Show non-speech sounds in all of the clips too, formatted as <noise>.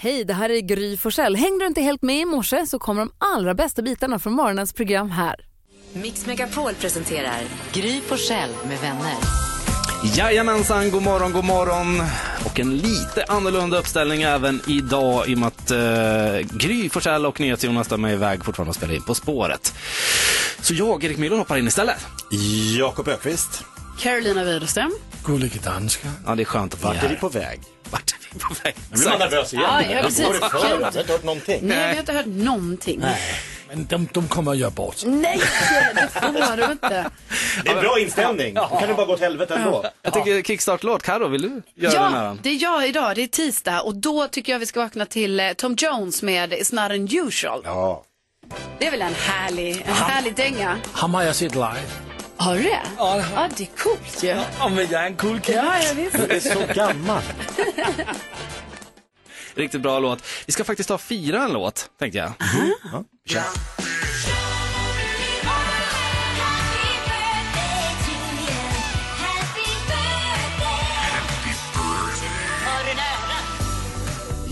Hej, det här är Gry Forssell. Hängde du inte helt med i morse så kommer de allra bästa bitarna från morgonens program här. Mix Megapol presenterar Gry Forssell med vänner. Jajamensan, god morgon, god morgon. Och en lite annorlunda uppställning även idag i och med att eh, Gry Forssell och NyhetsJonas de är iväg fortfarande och spelar in På spåret. Så jag, Erik Miller, hoppar in istället. Jakob Ökvist. Carolina Widerström. Gullige danska. Ja, det är skönt att vi är Vart är vi här. på väg? Vart är vi på väg? Nu blir man nervös igen. Ja, ja, precis. Vad var det för? Kul. Jag har inte hört någonting. Nej, vi har inte hört någonting. Nej, Men de, de kommer att göra bort sig. det får du <laughs> inte. Det är en bra inställning. Då kan det bara gå åt helvete ändå. Jag tänker kickstart-låt. Karo, vill du göra den här? Ja, det är jag idag. Det är tisdag och då tycker jag vi ska vakna till eh, Tom Jones med It's not unusual. Ja. Det är väl en härlig, en härlig dänga. Han har jag sett live. Har du det? Ja, det är coolt ju. Ja, Ja, men jag är en cool kid. ja visst. Det är så gammalt. Riktigt bra låt. Vi ska faktiskt ta och fira en låt, tänkte jag.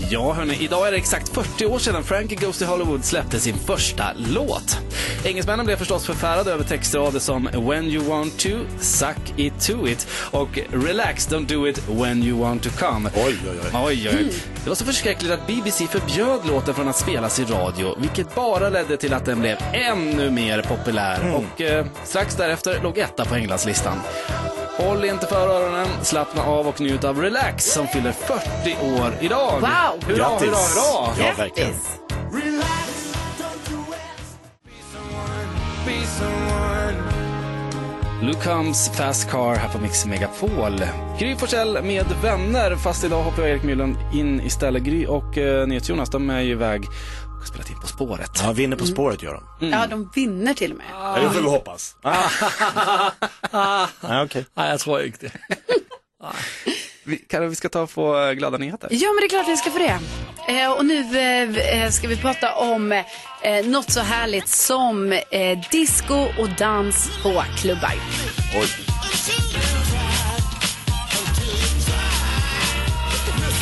Ja, hörni, idag är det exakt 40 år sedan Frankie Goes to Hollywood släppte sin första låt. Engelsmännen blev förstås förfärade över textrader som “When you want to, suck it to it” och “Relax, don't do it when you want to come”. Oj, oj, oj. Oj, oj. Det var så förskräckligt att BBC förbjöd låten från att spelas i radio, vilket bara ledde till att den blev ännu mer populär Mm. och eh, strax därefter låg etta på Englandslistan. Håll inte för öronen, slappna av och njut av Relax som fyller 40 år idag. Wow! Hurra, hurra, hurra! Ja, verkligen. Luke comes Fast Car här på Mix Megapol. Gry Forssell med vänner, fast idag hoppar jag Erik Mylund in istället. Gry och eh, NyhetsJonas, de är ju iväg och har spelat in På spåret. Ja, vinner På spåret gör de. Ja, de vinner till och med. Ja, det får vi hoppas. Ja, okej. Nej, jag tror inte det. Vi, Karin, vi ska ta och få eh, glada nyheter. Ja, men det är klart vi ska få det. Eh, och nu eh, eh, ska vi prata om eh, något så härligt som eh, disco och dans på klubbar.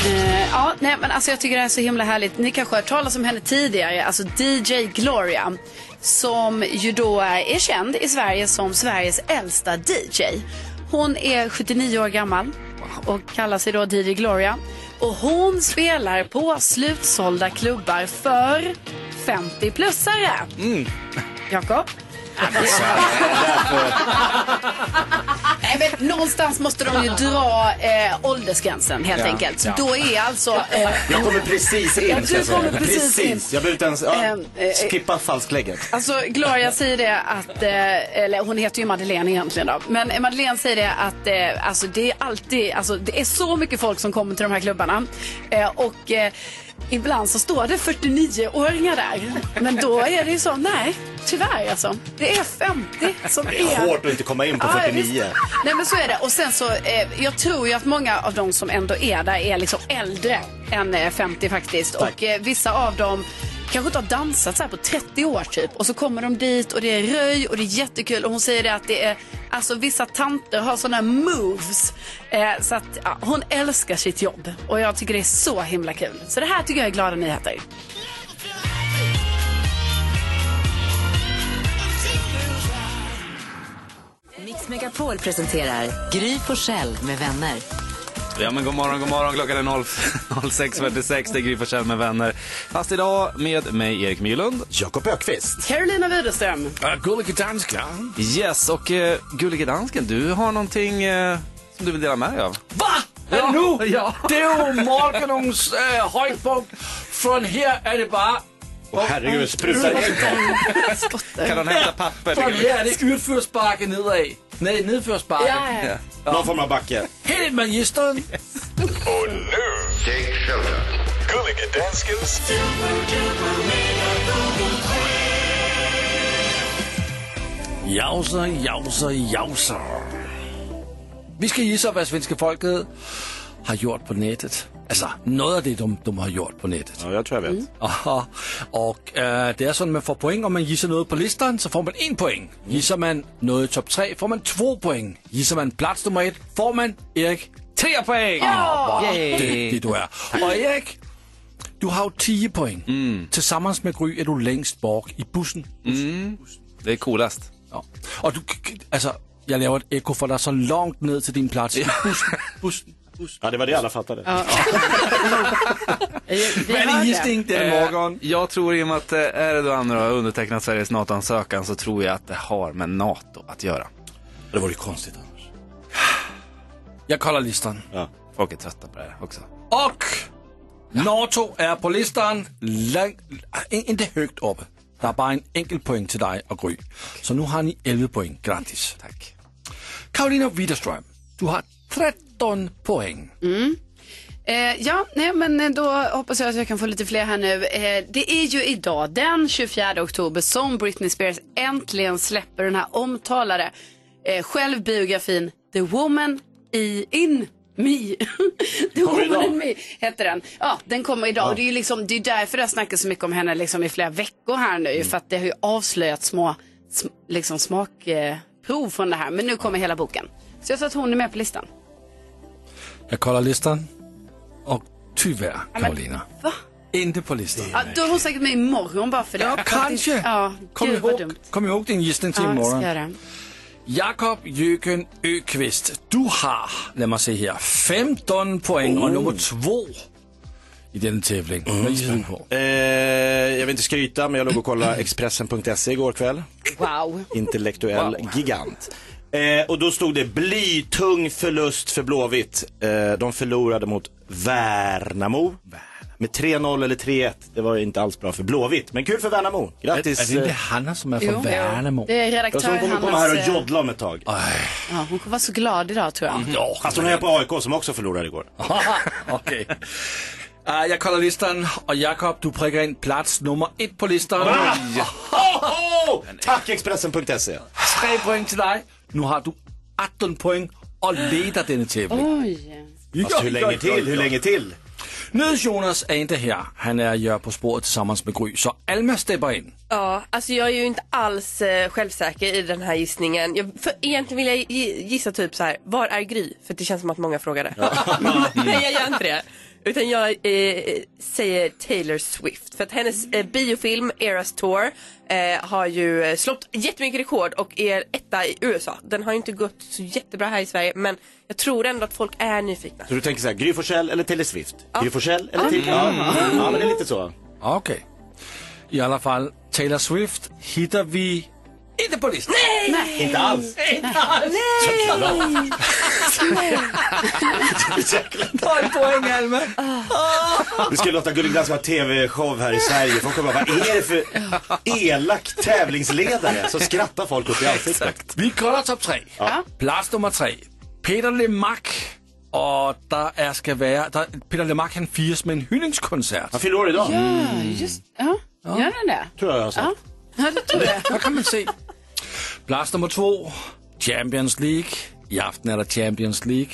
Eh, ja, nej, men alltså jag tycker det här är så himla härligt. Ni kanske har hört talas om henne tidigare, alltså DJ Gloria. Som ju då är känd i Sverige som Sveriges äldsta DJ. Hon är 79 år gammal och kallar sig då DJ Gloria. Och hon spelar på slutsålda klubbar för 50-plussare. Jakob? <laughs> Nej, men någonstans måste de ju dra eh, åldersgränsen helt Ja, enkelt. Så ja. Då är alltså... Eh, Jag kommer precis in, ska jag du kommer säga. precis in. Jag behöver inte ens... Ja, Ehm, eh, skippa falsklägget. Alltså Gloria säger det att, eh, eller hon heter ju Madeleine egentligen då. Men eh, Madeleine säger det att eh, alltså, det är alltid, alltså, det är så mycket folk som kommer till de här klubbarna. Eh, och eh, ibland så står det 49-åringar där. Men då är det ju så, nej tyvärr alltså. Det är 50 som Det är hårt att inte komma in på Ja, 49. visst. Nej men så är det. Och sen så, eh, jag tror ju att många av de som ändå är där är liksom äldre än eh, 50 faktiskt. Och eh, vissa av dem kanske inte har dansat så här på 30 år typ. Och så kommer de dit och det är röj och det är jättekul. Och hon säger det att det är, alltså vissa tanter har sådana moves. Eh, så att ja, hon älskar sitt jobb. Och jag tycker det är så himla kul. Så det här tycker jag är glada nyheter. Mix Megapol presenterar Gry Forssell med vänner. Ja, men god morgon, god morgon. Klockan är 0 <laughs> 06.46. Det är Gry Forssell med vänner. Fast idag med mig, Erik Mylund. Jakob Ökvist. Carolina Widerström. Äh, Gullige danska. Yes, och eh, Gullige Dansken, du har någonting eh, som du vill dela med dig av. Va? Ja. Nu? Ja. Det är ju morgonens äh, höjdpunkt. Från här är det bara... Åh herregud, sprutar in. Kan hon hämta papper? Från här är det utförsbacke nedad. Nej, nedförsbacke. Ja. Någon form av backe. Hej magistern! Och nu, take shelter. Gullige danskens... Jauser, jauser, jauser. Vi ska gissa vad svenska folket har gjort på nätet. Alltså, något av det de, de har gjort på nätet. Ja, jag tror jag vet. Aha. Och eh, det är så att man får poäng om man gissar något på listan så får man en poäng. Gissar man något i topp tre får man två poäng. Gissar man plats nummer ett får man Erik Tre poäng! vad Yay. duktig du är. Och Erik, Du har jo 10 point. Mm. Tillsammans med Gry är du längst bak i bussen. Det är coolast. Ja. Och du, k- k- alltså, jag laver ett eko för dig så långt ner till din plats. Bussen, bussen, bussen. Ja, det var det alla fattade. Vi Men hörde. i gissning den morgon. Eh, Jag tror i och med att eh, Erdogan nu har undertecknat Sveriges NATO-ansökan så tror jag att det har med NATO att göra. Det var ju konstigt annars. Jag kollar listan. Folk är trötta på det här också. Och NATO är på listan. Lang, in- inte högt upp. Det är bara en enkel poäng till dig och Gry. Så nu har ni 11 poäng. Grattis. Tack. Karolina Widerström, du har 13 poäng. Eh, ja, nej, men eh, då hoppas jag att jag kan få lite fler här nu. Eh, det är ju idag, den 24 oktober, som Britney Spears äntligen släpper den här omtalade eh, självbiografin The Woman i In Me. <laughs> The Woman idag? in Me heter den. Ja, den kommer idag. Och det är ju liksom, det är därför det har snackats så mycket om henne liksom, i flera veckor här nu. För att det har ju avslöjat små sm- liksom, smakprov eh, prov från det här. Men nu kommer hela boken. Så jag tror att hon är med på listan. Jag kollar listan. Och tyvärr, Karolina. Va? Inte på listan. Ja, då är hon säkert med imorgon bara för det. Ja, kanske. Ja, kom, gud vad ihåg, dumt. kom ihåg din gissning till Ja, jag ska imorgon. göra det. Jakob Jöken Öqvist, du har, lad mig se her, 15 point och nummer två i den tävling. Hvad gissar du på? Eh, jag vill inte skryta, men jag låg och kollade Expressen.se igår kväll. Wow. Intellektuell gigant. Eh, och då stod det blytung förlust för Blåvitt. Eh, de förlorade mot Värnamo. Med 3-0 eller 3-1. Det var ju inte alls bra för Blåvitt, men kul för Värnamo. Grattis. eh, Er det inte Hanna, som är från Värnamo? Det är Jag tror redaktör hon kommer komma Hannas, här och eh, joddla om ett tag. Ja, hon kommer vara så glad idag tror jag. Ja, Fast hon är på AIK som också förlorade igår. <laughs> okay. Uh, jeg kolder listen, og Jakob, du prikker ind plads nummer et på listen. Oho! Tack Expressen.se. Tre point til dig. Nu har du 18 point og leder denne tävling. Oj. Fast hur länge till? Hur länge till? Nydes Jonas er inte her. Han er jer på sporet tillsammans med Gry, så Alma stepper ind. Ja, alltså jag är ju inte alls eh, självsäker i den här gissningen. Jag, för egentligen vill jag gi- gissa typ så här, var är Gry? För det känns som att många frågar det. <laughs> Men jag gör inte det. Utan jag eh, säger Taylor Swift. För att hennes eh, biofilm Eras Tour eh, har ju eh, slått jättemycket rekord och är etta i USA. Den har ju inte gått så jättebra här i Sverige men jag tror ändå att folk är nyfikna. Så du tänker så här, Gry Forssell eller Taylor Swift? Gry Forssell eller Taylor ja. ja, men det är lite så. Okay. I alla fall, Taylor Swift hittar vi inte på listan. Inte alls. Nej! poäng, Alma. Vi skulle låta Gullig Dansk ha TV-show här i Sverige. Folk kommer bara, vad är det för elak tävlingsledare? Så skrattar folk upp i ansiktet. Vi kollar topp tre. Plats nummer tre. Peter Lemark. Och där är, ska vara, där, Peter Lemark han firas med en hyllningskonsert. Han fyller år idag, Mm, Ja, just, ja. Gör den det? tror jag alltså. jag har sagt. Ja, det tror jag. Vad kan man se? Plats nummer två. Champions League. I aften är det Champions League.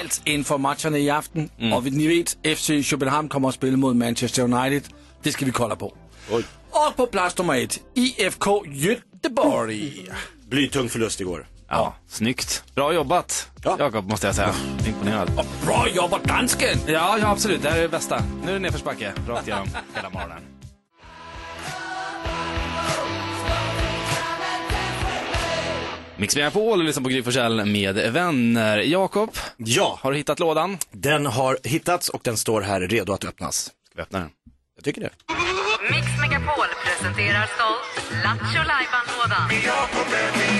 Allt inför matcherna i aften. Mm. Och vi- ni vet, FC Köpenhamn kommer att spela mot Manchester United. Det ska vi kolla på. Oj. Och på plats nummer ett, IFK Göteborg. Blytung förlust igår. Ja, snyggt. Bra jobbat, Ja. Jakob, måste jag säga. Imponerad. Bra jobbat dansken! Ja, ja, absolut. Det här är det bästa. Nu är det nedförsbacke, rakt <laughs> igenom hela morgonen. Mix på och lyssnar på Gry Forssell med vänner. Jakob, Ja, har du hittat lådan? Ska den har hittats och den står här redo att öppnas. vi öppna den? Jag tycker det. Mix Megapol presenterar stolt Lattjo Lajban-lådan.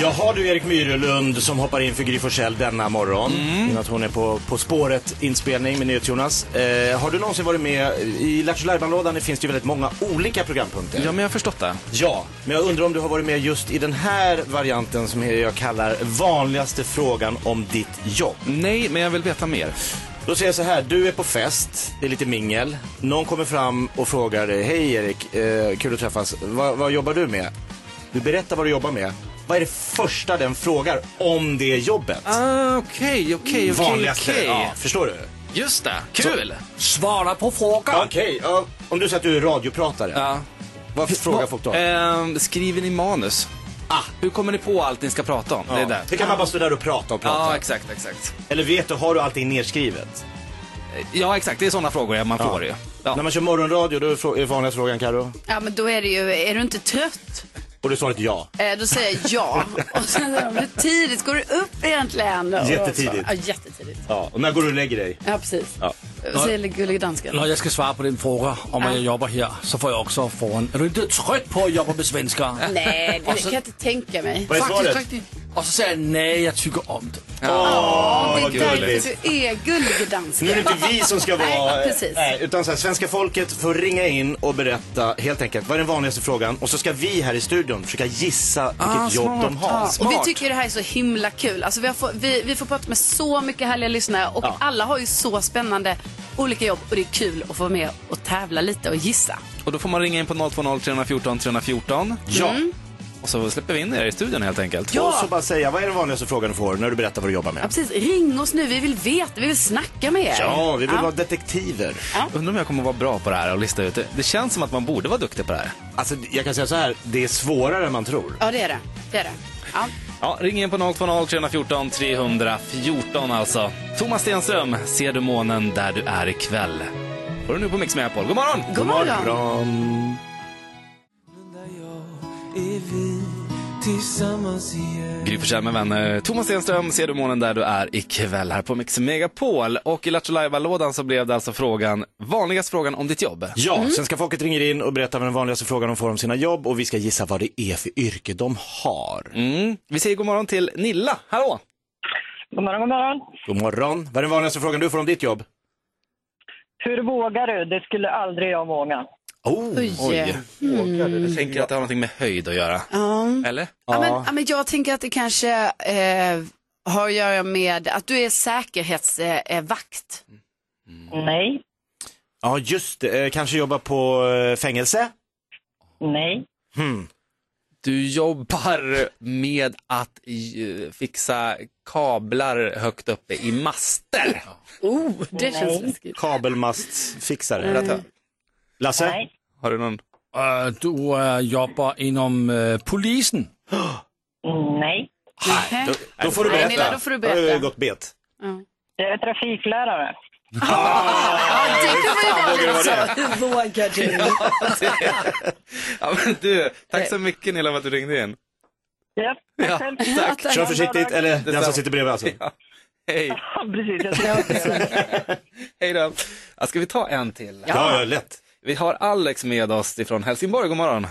Jag har du Erik Myrelund som hoppar in för Gry Forssell denna morgon. Mm. att hon är på På spåret inspelning med NyhetsJonas. Eh, har du någonsin varit med i Lattjo Lajban-lådan? Det finns det ju väldigt många olika programpunkter. Ja, men jag har förstått det. Ja, men jag undrar om du har varit med just i den här varianten som jag kallar vanligaste frågan om ditt jobb. Nej, men jag vill veta mer. Då säger jag så här, du är på fest, det är lite mingel. Någon kommer fram och frågar dig, hej Erik, eh, kul att träffas, Va, vad jobbar du med? Du berättar vad du jobbar med. Vad är det första den frågar om det jobbet? Ah, Okej, okej, okej, Ja, okej. förstår du? Just det, kul! Svara på frågan! Okej, ja, om du säger att du är radiopratare, Ja. eh, vad frågar folk då? Ehm, skriver ni manus? Ah, hur kommer ni på allt ni ska prata om? Det är där. Det kan man bara stå där och prata och prata. Ja, exakt, exakt. Eller vet du, har du allting nedskrivet? Ja, exakt. Det är sådana frågor man får ju. När Ja. man kör morgonradio, då är frå- är vanliga frågan Karo Ja, men då är det ju, är du inte trött? Och du svaret ja. Eh, då säger jag ja. <laughs> Och sen är de, hur tidigt går du upp egentligen? Och- Jättetidigt. Ja, jättetidigt. ja. Och när går du och lägger dig? Ja, precis. Ja. Säger gullig dansken. Når jeg skal svare på den fråga om, at jeg jobber her, så får jeg også foran. Er du ikke trødt på, at jeg jobber med svenskere? Nej, det kan jag inte tänka mig. Vad är Faktisk svaret? rigtigt. Og så sagde jeg, nej, jeg tykker om det. Åh, det är vad gulligt. därför du är gullig dansken. Nu är det inte vi som ska vara... <laughs> Nej, precis. Nej, utan så här, svenska folket får ringa in och berätta helt enkelt vad är den vanligaste frågan och så ska vi här i studion försöka gissa vilket jobb smart. de har. Ah, Och smart. vi tycker det här är så himla kul. Alltså vi, har fått, vi, vi får prata med så mycket härliga lyssnare och alla har ju så spännande olika jobb och det är kul att få vara med och tävla lite och gissa. Och då får man ringa in på 020 314 314. Ja. Och så släpper vi in er i studion helt enkelt. Och så bara säga, vad är den vanligaste frågan du får när du berättar vad du jobbar Ja, med? precis. Ring oss nu, vi vill veta, vi vill snacka med er. Ja, vi vill vara detektiver. Undrar om jag kommer vara bra på det här och lista ut det. Det känns som att man borde vara duktig på det här. Alltså, jag kan säga så här, det är svårare än man tror. Ja, det är det. det, är det. Ja. Ja, ring in på 020 314 314 alltså. Thomas Stenström, ser du månen där du är ikväll? Får du nu på Mix Megapol. God morgon! God morgon. Gry Forssell med vänner. Thomas Stenström, ser du månen där du är ikväll här på Mix Megapol. Och i Lattjo Lajban-lådan så blev det alltså frågan, vanligast frågan om ditt jobb. Ja, svenska folket ringer in och berättar vad den vanligaste frågan de får om sina jobb och vi ska gissa vad det är för yrke de har. Mm. Vi säger god morgon till Nilla, hallå! God morgon, god morgon. God morgon. Vad är den vanligaste frågan du får om ditt jobb? Hur vågar du? Det skulle aldrig jag våga. Oh, Oj. Jag tänker att det har någonting med höjd att göra. Eller? Ja, men, ja, men jag tänker att det kanske eh, har att göra med att du är säkerhetsvakt. Eh, vakt. Nej, Ja, just det. Eh, kanske jobba på eh, fängelse? nej, Du jobbar med att eh, fixa kablar högt uppe i master. oh, det känns läskigt. Kabelmastfixare? Mm. Lasse? nej. Har du någon? Øh, du øh, jobber inom øh, polisen. nej. Nej. Då, då får du Nej, berätta. Nilla, då får du berätta. Då har jag gått bet. Jag är trafiklärare. Ja, det kommer ju vara liksom. Hur vågar du? Ja, men du, tack så mycket Nilla för att du ringde in. Ja, Ja, själv. tack. Kör försiktigt, eller den som sitter bredvid alltså. Hej, Precis, jag ska hej då. Ja, ska vi ta en till? Ja, ja, lätt. Vi har Alex med oss ifrån Helsingborg, god morgon.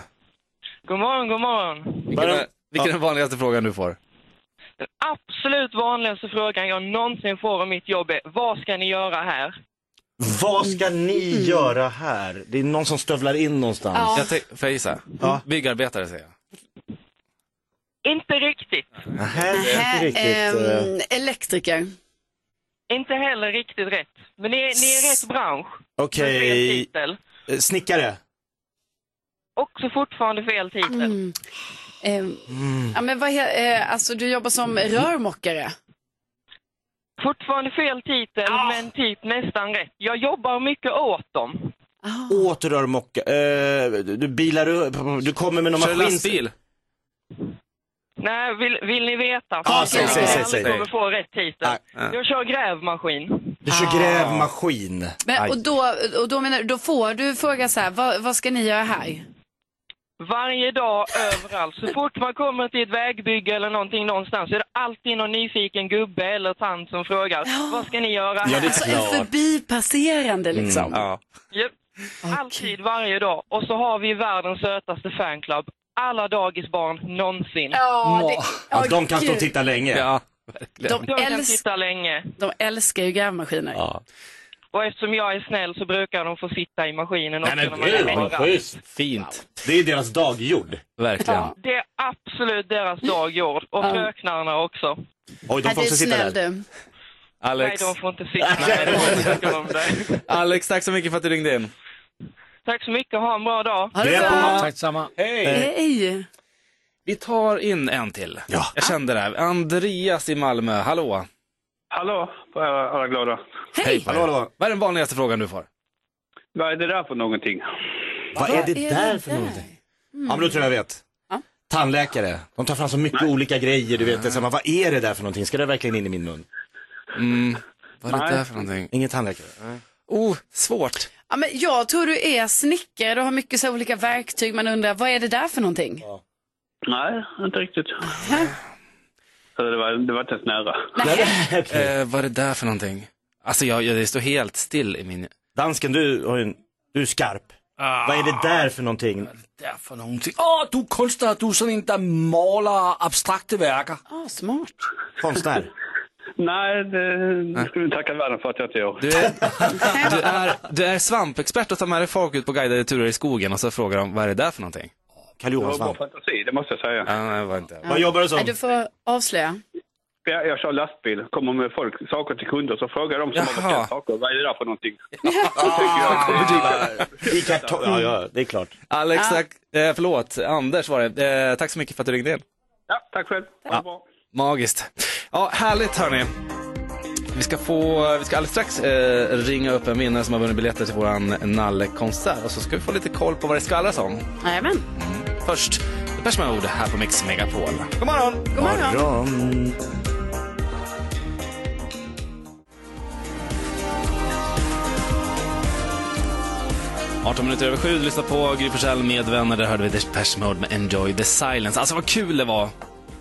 God morgon, god morgon. Vilken, Bara- är, vilken är den vanligaste frågan du får? Den absolut vanligaste frågan jag någonsin får om mitt jobb är vad ska ni göra här? Vad ska ni göra här? Det är någon som stövlar in någonstans. Mm. Ja. Jag tänk, får jag gissa? Ja. Byggarbetare säger jag. Inte riktigt. Här är inte riktigt... eh, Ehm, elektriker. Inte heller riktigt rätt. Men ni är, ni är i rätt bransch. men Fel Okej, titel. eh, snickare. Också fortfarande fel titel. Ehm, Mm. Ja, men vad, he- eh, alltså, du jobbar som rörmokare. Fortfarande fel titel, men typ nästan rätt. Jag jobbar mycket åt dem. Ah. Åt rörmokare. Eh, du bilar upp, du kommer med någon Kör maskin. lastbil? Nej, vill, vill ni veta? Ja, Ah, säg, säg, säg, Ni säg. Ah. kommer få rätt titel. Nej. Jag kör grävmaskin. Du kör grävmaskin. Men, Aj. och då, och då, menar, du- då får du fråga så här, vad, vad ska ni göra här? Varje dag, överallt. Så fort man kommer till ett vägbygge eller någonting någonstans så är det alltid någon nyfiken gubbe eller tant som frågar vad ska ni göra här? Alltså en förbipasserande Mm. liksom. Ja. Japp. Alltid, varje dag. Och så har vi världens sötaste fanclub. Alla dagisbarn någonsin. Ja, det, Ja, de kan Gud. stå och titta länge. ja, verkligen. De, Jag kan äls, sitta länge. de älskar ju grävmaskiner. Ja. Och eftersom jag är snäll så brukar de få sitta i maskinen också. Nej men när man är gud vad borta. schysst. Fint, Det är deras dagjord. verkligen. Det är absolut deras dagjord. Och fröknarna också. Oj, de Ja, får du är också sitta snäll där. du. Alex, Nej, de får inte sitta. Nej, de får inte tycka om <laughs> det. Alex, tack så mycket för att du ringde in. Tack så mycket, ha en bra dag. Ha det bra. Tak sammen. Eh. Hej. Vi tar in en till. Ja. Jag kände det. här. Andreas i Malmö, hallå. Hallå, får jag vara glada. Hej på Hallå, er. hallå. Vad är den vanligaste frågan du får? Vad är det där för någonting? Vad är det är där det för där? någonting? Ja men då tror jag jag vet. Tandläkare. De tar fram så mycket olika grejer. Du vet, det är så här, man, vad är det där för någonting? Ska det verkligen in i min mun? Mm. Vad är det Nej. där för någonting? Ingen tandläkare. <laughs> Oh, svårt. Ja, men jag tror du är snickare, du har mycket så här olika verktyg. Man undrar, vad är det där för någonting? Nej, inte riktigt. Så det var, det var inte ens nära. Eh, vad är det där för någonting? Alltså jag, jag, det står helt still i min... Dansken, du, har ju en, du är skarp. Ah. Vad är det där för någonting? Der for nogle ting. Åh, du er kunstner, du er sådan en, der maler abstrakte værker. Åh, smart. Konstnär. Nej, det, det skulle vi tacka världen för att jag inte gör. Du är, du är, du är svampexpert och tar med dig folk ut på guidade turer i skogen och så frågar de vad är det där för någonting? Karl Det var bra Johansson. fantasi, det måste jag säga. Ja, nej, det var inte. Vad jobbar du Nej, som? du får avslöja. Jag, jag kör lastbil, kommer med folk, saker till kunder, så frågar de som har Jaha. beställt saker, vad är det där för <laughs> någonting? Då tycker jag att det är- I kartong. Ja, ja, det är klart. Alex, tack, eh, förlåt, Anders var det. Eh, tack så mycket för att du ringde in. Ja, tack själv. Ha det bra. Magiskt. Ja, härligt hörni. Vi ska, få, vi ska alldeles strax eh, ringa upp en vinnare som har vunnit biljetter till våran Nalle-konsert och så ska vi få lite koll på vad det skvallras om. Jajamän. Först, Depeche Mode här på Mix Megapol. God morgon! God morgon. Morgon. Mm. 18 minuter över sju, du lyssnar på Gry Forssell med vänner. Där hörde vi Depeche Mode med Enjoy the Silence. Alltså vad kul det var!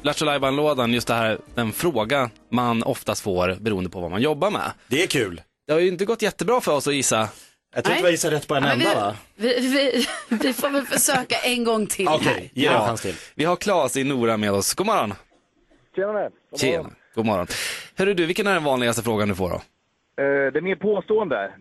Lattjo Lajban-lådan, just det här, den fråga man oftast får beroende på vad man jobbar med. Det är kul. Det har ju inte gått jättebra för oss att gissa. Jag tror att Nej. vi gissade rätt på en Ja, men enda va? vi, vi, vi, vi får väl försöka en gång till Okej, ge en chans till. Vi har Claes i Nora med oss. God morgon! Tjenare. Tjena! God morgon. Hörru du, vilken är den vanligaste frågan du får då? Eh, Det är mer påstående.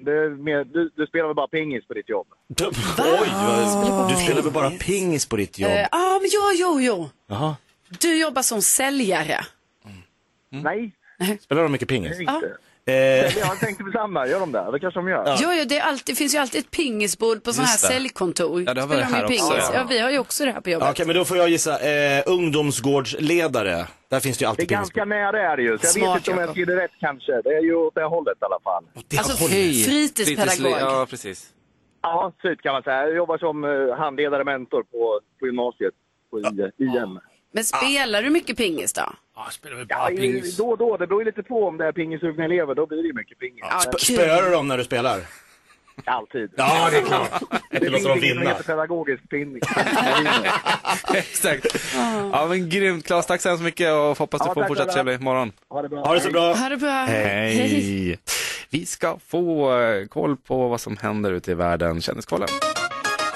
du, spelar väl bara pingis på ditt jobb? Oj, vad, du spelar väl bara pingis på ditt jobb? här. Eh, Ja, men jo, jo, jo. Jaha. Du jobbar som säljare. Nej, Spelar de mycket pingis? Ja. Eh, jag tänkte på samma. Gör de det? Det kanske de gör. Jo, jo, det, är alltid, det finns ju alltid ett pingisbord på sådana här Just det. säljkontor. Ja, det har vi Spelar de här ju också, pingis. ja. Ja, vi har ju också det här på jobbet. Okej, men då får jag gissa. Eh, ungdomsgårdsledare. Där finns det Det ju är alltid pingis. ganska nära är det ju, så jag Smart, vet inte om jag Jakob. skriver rätt kanske. Det är ju åt det hållet i alla fall. Alltså fritidspedagog. Ja, precis. <laughs> Ja, typ kan man säga. Jag jobbar som eh, handledare och mentor på, på gymnasiet, på I, IM. Men spelar du mycket pingis då? Åh, spiller vi Ja, øh, bare i, pingis. då och då, det beror ju lite på om det är pingisugna elever, då blir det ju mycket pingis. Ja, Sp- kul. Spöar du dem när du spelar? Alltid. Ja, det är klart. Det låter dem ingenting som vinna. heter pedagogisk pinne. Exakt. Ja, men grymt Claes. Tack så hemskt mycket och hoppas du Ja, får tack, en fortsatt alla. trevlig morgon. Ha det bra. Ha det så bra. Ha det bra. Hej! Vi ska få eh, koll på vad som händer ute i världen. Kändiskollen.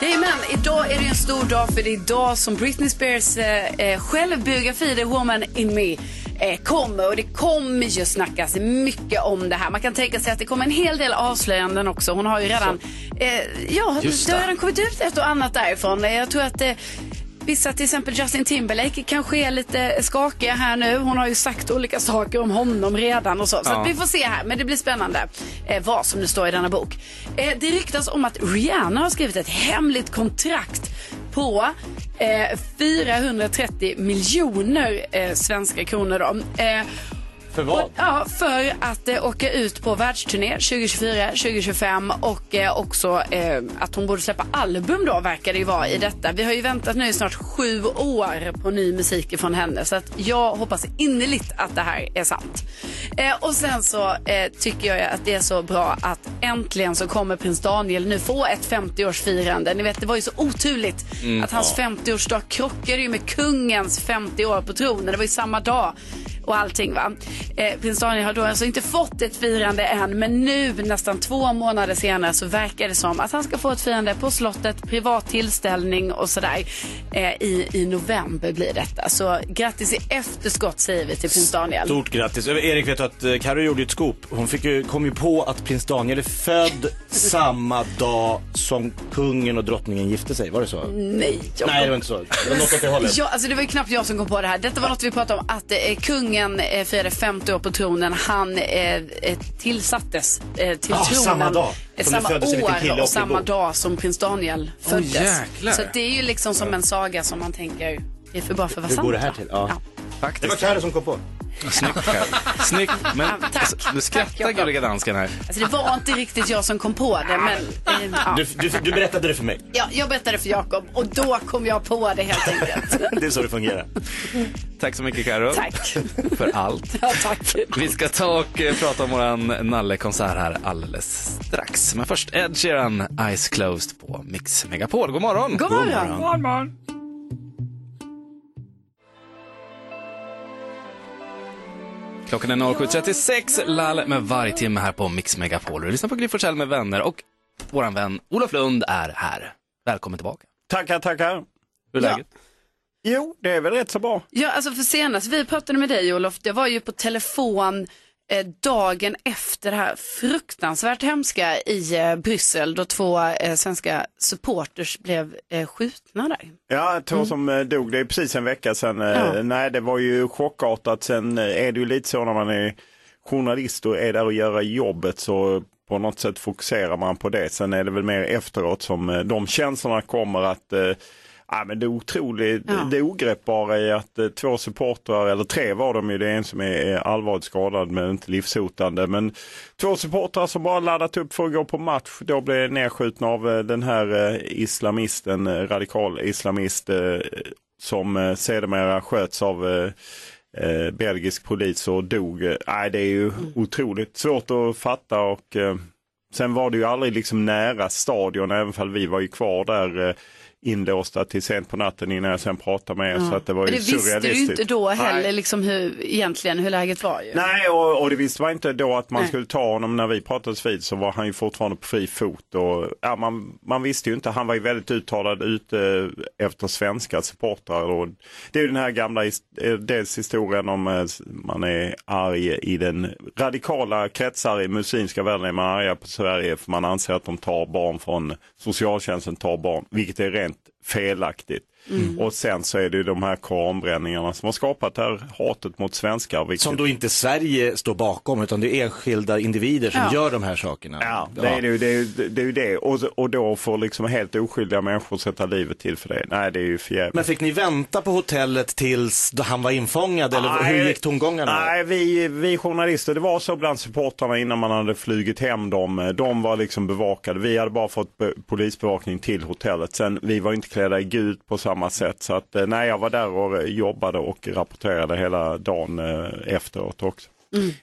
Jajamän, idag är det en stor dag för det är idag som Britney Spears eh, eh, självbiografi The Woman In Me eh, kommer. Och det kommer ju snackas mycket om det här. Man kan tänka sig att det kommer en hel del avslöjanden också. Hon har ju redan, eh, ja, Just det har det. redan kommit ut ett och annat därifrån. Eh, Jag tror att eh, Vissa, till exempel Justin Timberlake, kanske är lite skakiga här nu. Hon har ju sagt olika saker om honom redan och så. Så Ja. att vi får se här, men det blir spännande eh, vad som nu står i denna bok. Eh, det ryktas om att Rihanna har skrivit ett hemligt kontrakt på eh, 430 miljoner eh, svenska kronor. Då. Eh, För vad? Ja, för att eh, åka ut på världsturné 2024, 2025 och eh, också eh, att hon borde släppa album då verkar det ju vara i detta. Vi har ju väntat nu i snart sju år på ny musik från henne så att jag hoppas innerligt att det här är sant. Eh, och sen så eh, tycker jag ju att det är så bra att äntligen så kommer prins Daniel nu få ett 50-årsfirande. Ni vet det var ju så oturligt att hans 50-årsdag krockade ju med kungens 50 år på tronen. Det var ju samma dag och allting. Va? Eh, prins Daniel har då alltså inte fått ett firande än men nu nästan två månader senare så verkar det som att han ska få ett firande på slottet, privat tillställning och sådär. Eh, i, I november blir detta. Så grattis i efterskott säger vi till prins Daniel. Stort grattis. Eh, Erik vet du att eh, Carro gjorde ju ett scoop. Hon fick ju, kom ju på att prins Daniel är född samma dag som kungen och drottningen gifte sig. Var det så? Nej, jag Nej, det var inte så. Det var något åt det hållet. Mm, Ja, alltså det var ju knappt jag som kom på det här. Detta var något vi pratade om, att eh, kungen eh, firade 50 år på tronen. Han eh, eh, tillsattes eh, till Ah, tronen samma dag eh, som det samma föddes en liten kille år uppe i och samma Bo. dag som prins Daniel föddes. jäklar. så det är ju liksom som en saga som man tänker, det är för bra för att vara Hur sant. går det här va? till? Ja. Ja. Det var Faktiskt. Carro som kom på. Snyggt själv. Snyggt. Men du skrattar gulliga dansken här. Alltså det var inte riktigt jag som kom på det, men eh, ja. Du, du, du berättade det för mig. Ja, jag berättade för Jakob och då kom jag på det <laughs> helt enkelt. Det är så det fungerar. Tack så mycket Karo. Tack. För allt. Ja, tack. Vi ska ta och eh, prata om våran Nalle-konsert här alldeles strax. Men först Ed Sheeran, Eyes Closed på Mix Megapol. God morgon! God morgon. God Klockan är 07.36, Lall med varje timme här på Mix Megapol. Du lyssnar på Gry Forssell med vänner och våran vän Olof Lund är här. Välkommen tillbaka. Tackar, tackar. Hur är läget? Jo, det är väl rätt så bra. Ja, alltså för senast vi pratade med dig Olof, det var ju på telefon eh, dagen efter det här fruktansvärt hemska i eh, Bryssel då två eh, svenska supporters blev eh, skjutna där. Mm. Ja, två som eh, dog, det är precis en vecka sedan. Eh, Nej, det var ju chockartat. Sen eh, är det ju lite så när man är journalist och är där och gör jobbet så på något sätt fokuserar man på det. Sen är det väl mer efteråt som eh, de känslorna kommer att eh, Ja, men det otroligt, Ja. det ogreppbara är att eh, två supportrar, eller tre var de ju, det är en som är, är allvarligt skadad men inte livshotande. Men två supportrar som bara laddat upp för att gå på match, då blev nedskjutna av eh, den här eh, islamisten, eh, radikal islamist eh, som eh, sedermera sköts av eh, eh, belgisk polis och dog. Eh, Nej, det är ju otroligt svårt att fatta och eh, sen var det ju aldrig liksom nära stadion, även fall vi var ju kvar där eh, inlåsta till sent på natten innan jag sen pratade med er. Så att det var Men ju det visste du ju surrealistiskt. inte då heller Nej. liksom hur, egentligen hur läget var ju. Nej, och, och det visste man inte då att man Nej. skulle ta honom. När vi pratades vid så var han ju fortfarande på fri fot. Och, ja, man, man visste ju inte, han var ju väldigt uttalad ute efter svenska supportrar. Och det är ju den här gamla his- eh, dels historien om eh, man är arg i den radikala kretsar i muslimska världen är man arga på Sverige för man anser att de tar barn från socialtjänsten tar barn, vilket är rent felaktigt. Och sen så är det ju de här koranbränningarna som har skapat det här hatet mot svenskar. Vilket... Som då inte Sverige står bakom utan det är enskilda individer som Ja. gör de här sakerna. Ja, det är det ju. Det är, ju- det, är ju det. Och, så- och då får liksom helt oskyldiga människor sätta livet till för det. Nej, det är ju för jävligt. Men fick ni vänta på hotellet tills då han var infångad eller hur Nej, gick tongångarna? Nej, vi, vi journalister, det var så bland supportrarna innan man hade flugit hem dem. De var liksom bevakade. Vi hade bara fått be- polisbevakning till hotellet. Sen, vi var inte klädda i gult på samma sätt. Så att, eh, nej, jag var där och eh, jobbade och rapporterade hela dagen eh, efteråt också.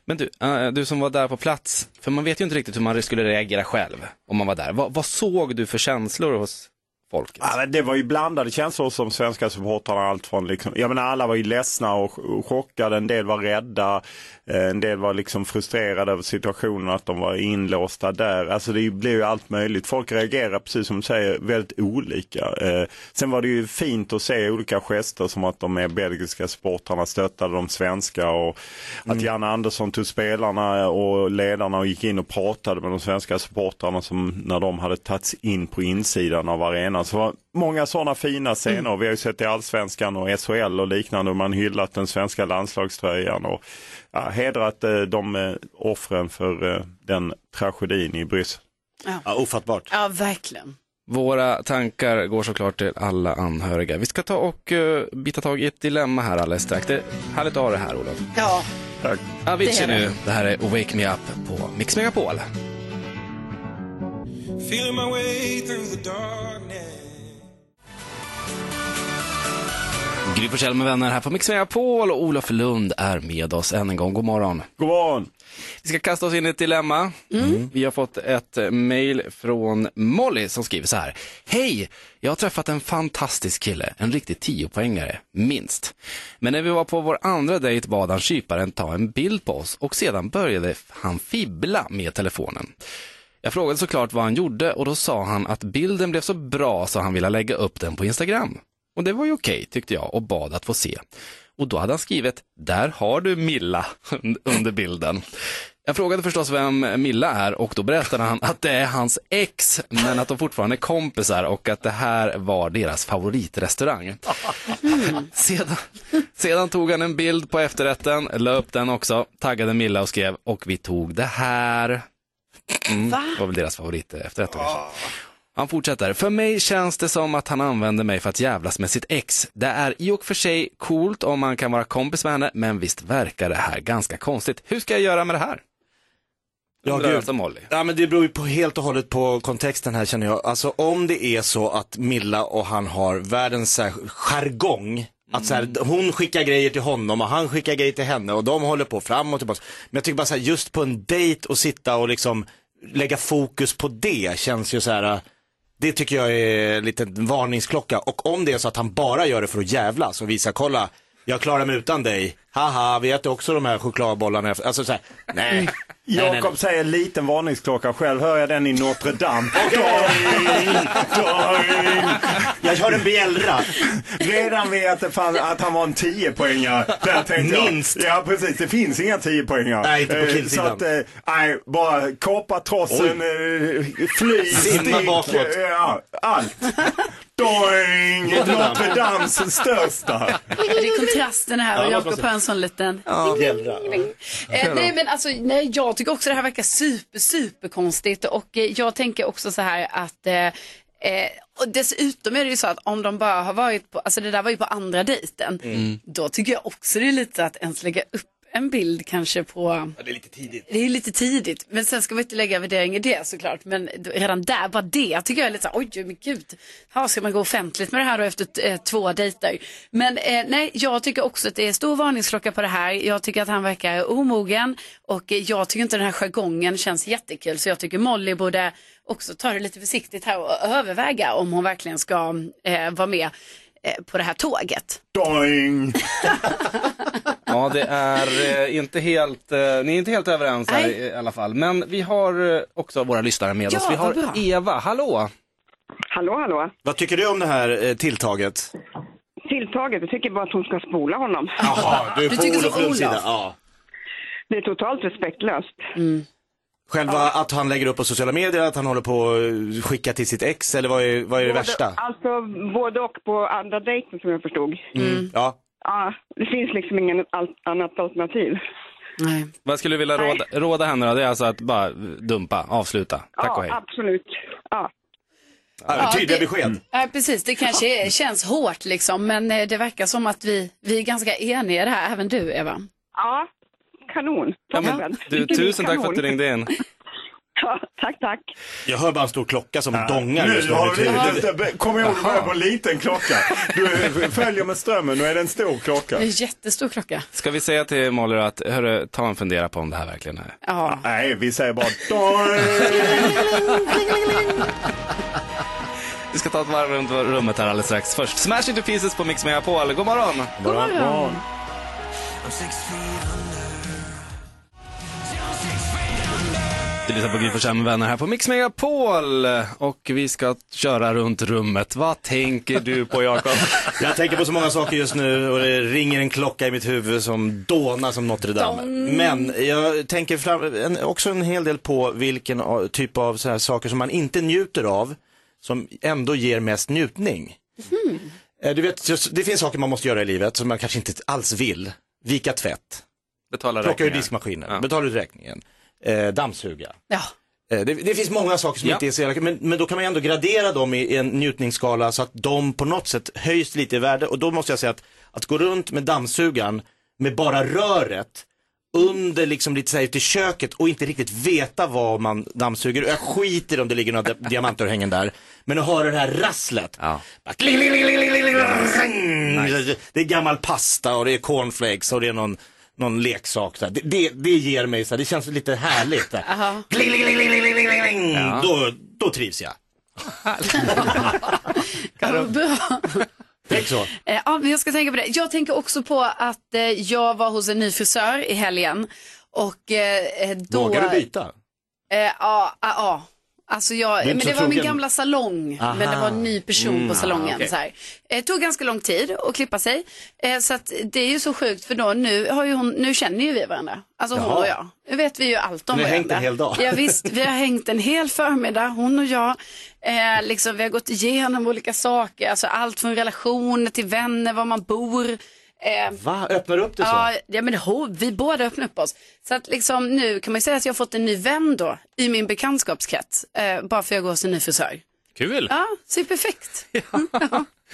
Men du, eh, du som var där på plats, för man vet ju inte riktigt hur man skulle reagera själv om man var där. Vad, vad såg du för känslor hos folket? Ja, men det var ju blandade känslor som svenska supportrarna. Allt från liksom, jag menar, alla var ju ledsna och ch- och chockade, en del var rädda, eh, en del var liksom frustrerade över situationen, att de var inlåsta där. Alltså det blev ju allt möjligt. Folk reagerar, precis som du säger, väldigt olika. Eh, Sen var det ju fint att se olika gester som att de mer belgiska supportrarna stöttade de svenska och att Janne Andersson tog spelarna och ledarna och gick in och pratade med de svenska supportrarna som när de hade tagits in på insidan av arenan. Så det var många sådana fina scener. Vi har ju sett i Allsvenskan och SHL och liknande och man hyllat den svenska landslagströjan och ja, hedrat eh, de eh, offren för eh, den tragedin i Bryssel. Ja, ofattbart. Ja, verkligen. Våra tankar går såklart till alla anhöriga. Vi ska ta och eh, bita tag i ett dilemma här alldeles strax. Det är härligt att ha det här, Olof. Ja, Tack. Avicii Det är det. nu. Det här är Wake Me Up på Mix Megapol. Gry Forssell med vänner här på Mix Megapol och Olof Lund är med oss än en gång. God morgon. God morgon! Vi ska kasta oss in i ett dilemma. Vi har fått ett eh, mail från Molly som skriver så här. Hej! Jag har träffat en fantastisk kille, en riktig tiopoängare, minst. Men när vi var på vår andra dejt bad han kyparen ta en bild på oss och sedan började han fibbla med telefonen. Jag frågade såklart vad han gjorde och då sa han att bilden blev så bra så han ville lägga upp den på Instagram. Och det var ju okej tyckte jag och bad att få se. Och då hade han skrivit, där har du Milla <laughs> under bilden. Jag frågade förstås vem Milla är och då berättade han att det är hans ex men att de fortfarande är kompisar och att det här var deras favoritrestaurang. Sedan, sedan tog han en bild på efterrätten, la upp den också, taggade Milla och skrev eh, och vi tog det här. Mm, det var väl deras favorit efterrätt. då kanske. Han fortsätter. För mig känns det som att han använder mig för att jävlas med sitt ex. Det är i och för sig coolt om man kan vara kompis med henne, men visst verkar det här ganska konstigt. Hur ska jag göra med det här? Ja, Undrar gud. alltså Molly. Ja, men det beror ju på helt och hållet på kontexten här känner jag. Alltså om det är så att Milla och han har världens så här, jargong. Att så här, hon skickar grejer till honom och han skickar grejer till henne och de håller på fram och tillbaka. Men jag tycker bara så här, just på en dejt och sitta och liksom lägga fokus på det känns ju så här. äh, Det tycker jag är en liten varningsklocka. Och om det är så att han bara gör det för att jävlas och visa, kolla, jag klarar mig utan dig. Haha, vi äter också de här chokladbollarna. efter." Alltså så här, nej. Nej, nej, Jakob nej. säger liten varningsklocka, själv hör jag den i Notre Dame. Jag hör en bjällra. Redan vid att, det fann, att han var en 10 poängare där tänkte jag, Minst. Ja precis, det finns inga 10 poängare Nej, inte på killsidan. Så att, eh, nej, bara kapa trossen, eh, fly, Simma stick, bakåt. eh, ja, allt. Doing! Notre Dame. Notre Dames största. Det är kontrasten här och Ja, Jakob måste- har en sån liten... Eh, nej men alltså, nej, jag tycker också det här verkar super, super konstigt och eh, jag tänker också så här att eh, eh, och dessutom är det ju så att om de bara har varit på, alltså det där var ju på andra dejten, Mm. då tycker jag också det är lite att ens lägga upp en bild kanske på det är lite tidigt. det är ju lite tidigt, men sen ska man inte lägga värdering i det såklart. Men d- redan där, bara det tycker jag är lite så här, oj men gud, här ska man gå offentligt med det här då efter t- eh, två dejter? Men eh, nej, jag tycker också att det är stor varningsklocka på det här. Jag tycker att han verkar omogen och eh, jag tycker inte den här jargongen känns jättekul. Så jag tycker Molly borde också ta det lite försiktigt här och överväga om hon verkligen ska eh, vara med eh, på det här tåget. Doing! Ja, det är eh, inte helt, eh, ni är inte helt överens här Nej. i, i alla fall. Men vi har eh, också våra lyssnare med Ja, oss. Vi har vad bra. Eva, hallå! Hallå, hallå. Vad tycker du om det här eh, tilltaget? Tilltaget, jag tycker bara att hon ska spola honom. Jaha, Du tycker som Olofs Olof. Ja. Det är totalt respektlöst. Själva att han lägger upp på sociala medier, att han håller på att skicka till sitt ex eller vad är, vad är det värsta? Både, alltså både och på andra dejten som jag förstod. Mm. Ja. Ja, det finns liksom inget al- annat alternativ. Nej. Vad skulle du vilja råda, råda henne då? Det är alltså att bara eh, dumpa, avsluta. Tack och hej. ja, absolut. Ja. Ja, tydliga det- Mm. besked. Ja, precis. Det kanske är, känns hårt liksom, men eh, det verkar som att vi, vi är ganska eniga i det här, även du Eva. ja, kanon. Ja, men Toppen. du, tusen tack för att du Kanon. ringde in. <laughs> Ja, tack, tack. Jag hör bara en stor klocka som dongar Nu just nu. i har mitt du huvud. lite, kom ihåg du börjar på en liten klocka. Du följer med strömmen, nu är det en stor klocka. Det är en jättestor klocka. Ska vi säga till Molly då att, hörru, ta en fundera på om det här verkligen är... Ja. Nej, vi säger bara Vi ska ta ett varv runt rummet här alldeles strax. Först Smash Into Pieces på Mix Megapol. God morgon! God morgon. God morgon. Du lyssnar på Gry Forssell med vänner här på Mix Megapol och vi ska köra runt rummet. Vad tänker du på Jakob? Jag tänker på så många saker just nu och det ringer en klocka i mitt huvud som dånar som Notre Dame. Dong. Men jag tänker fram, en, också en hel del på vilken a- typ av så här saker som man inte njuter av, som ändå ger mest njutning. Eh, Du vet, just, det finns saker man måste göra i livet som man kanske inte alls vill. Vika tvätt, Betala plocka ur räkningar. diskmaskinen, betala ut räkningen, eh, dammsuga. Eh, Det, det finns många saker som Ja. inte är så jävla men, men då kan man ju ändå gradera dem i, i en njutningsskala så att de på något sätt höjs lite i värde. Och då måste jag säga att, att gå runt med dammsugaren med bara röret under liksom lite såhär till köket och inte riktigt veta vad man dammsuger. Jag skiter om det ligger några di- diamantörhängen där. Men att höra det här rasslet. Bara kling, kling, kling, kling, kling, kling. Det är gammal pasta och det är cornflakes och det är någon, någon leksak. Så här. Det, det, det ger mig så här, det känns lite härligt. Där. Aha. Kling, kling, kling, kling, kling, kling, kling, kling. Ja. Då, då trivs jag. Bra. Tänk så. Eh, <laughs> Ja, men jag ska tänka på det. Jag tänker också på att eh, jag var hos en ny frisör i helgen. Och eh, eh, då... Vågar du byta? Eh, Ja, ja, ja. Alltså jag, Det är men inte det så var min trogen. gamla salong, Aha. men det var en ny person Mm, på ah, salongen. okej. så här. Eh, tog ganska lång tid att klippa sig. Eh, så att det är ju så sjukt för då nu, har ju hon, nu känner ju vi varandra. Alltså hon Jaha. och jag. Nu vet vi ju allt om Ni har varandra. hängt en hel dag. Ja, visst, <laughs> vi har hängt en hel förmiddag, hon och jag. Eh, liksom, vi har gått igenom olika saker, alltså allt från relationer till vänner, var man bor. Eh, Va? Öppnar du upp det så? Ja, ja men ho, vi båda öppnar upp oss. Så att liksom nu kan man ju säga att jag har fått en ny vän då i min bekantskapskrets. Eh, bara för att jag går hos en ny frisör. Kul! Ja, så är <laughs> det perfekt.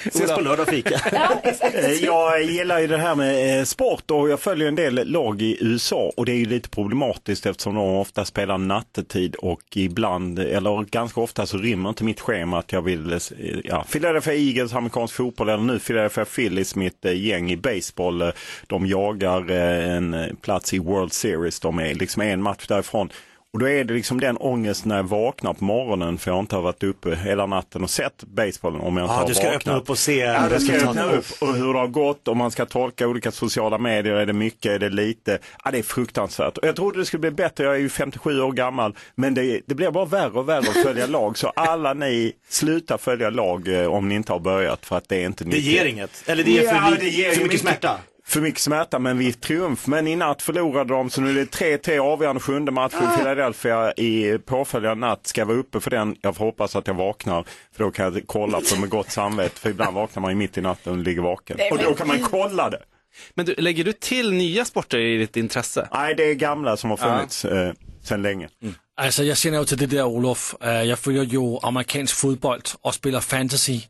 Ses på lördag och fika. Eh, Jag gillar ju det här med eh, sport och jag följer en del lag i USA och det är ju lite problematiskt eftersom de ofta spelar nattetid och ibland, eller ganska ofta så rymmer inte mitt schema att jag vill, eh, ja, Philadelphia Eagles, amerikansk fotboll eller nu Philadelphia Phillies, mitt eh, gäng i baseball, eh, de jagar eh, en eh, plats i World Series, de är liksom en match därifrån. Och då är det liksom den ångesten när jag vaknar på morgonen för jag inte har varit uppe hela natten och sett basebollen om jag inte Ah, har du ska vaknat. öppna upp och se Ja, då ska jag öppna upp resultatet. och hur det har gått, om man ska tolka olika sociala medier, är det mycket, är det lite? Ja, det är fruktansvärt. Och jag trodde det skulle bli bättre, jag är ju 57 år gammal, men det, det blir bara värre och värre att följa lag. Så alla ni, sluta följa lag eh, om ni inte har börjat för att det är inte nyttigt. ger inget. Eller det ger för li- ger för ju mycket smärta. För mycket smärta men vi triumf. Men i natt förlorade de så nu är det 3-3 avgörande sjunde match Ah. för Philadelphia i påföljande natt. Ska jag vara uppe för den. Jag får hoppas att jag vaknar för då kan jag kolla på med gott samvete. För ibland vaknar man ju mitt i natten och ligger vaken. Nej, Och men då kan man gud. kolla det. Men du, lägger du till nya sporter i ditt intresse? Nej, det är gamla som har funnits eh, sedan länge. Altså, jeg sender jo til det der, Olof. Øh, Jeg følger jo amerikansk fodbold og spiller fantasy.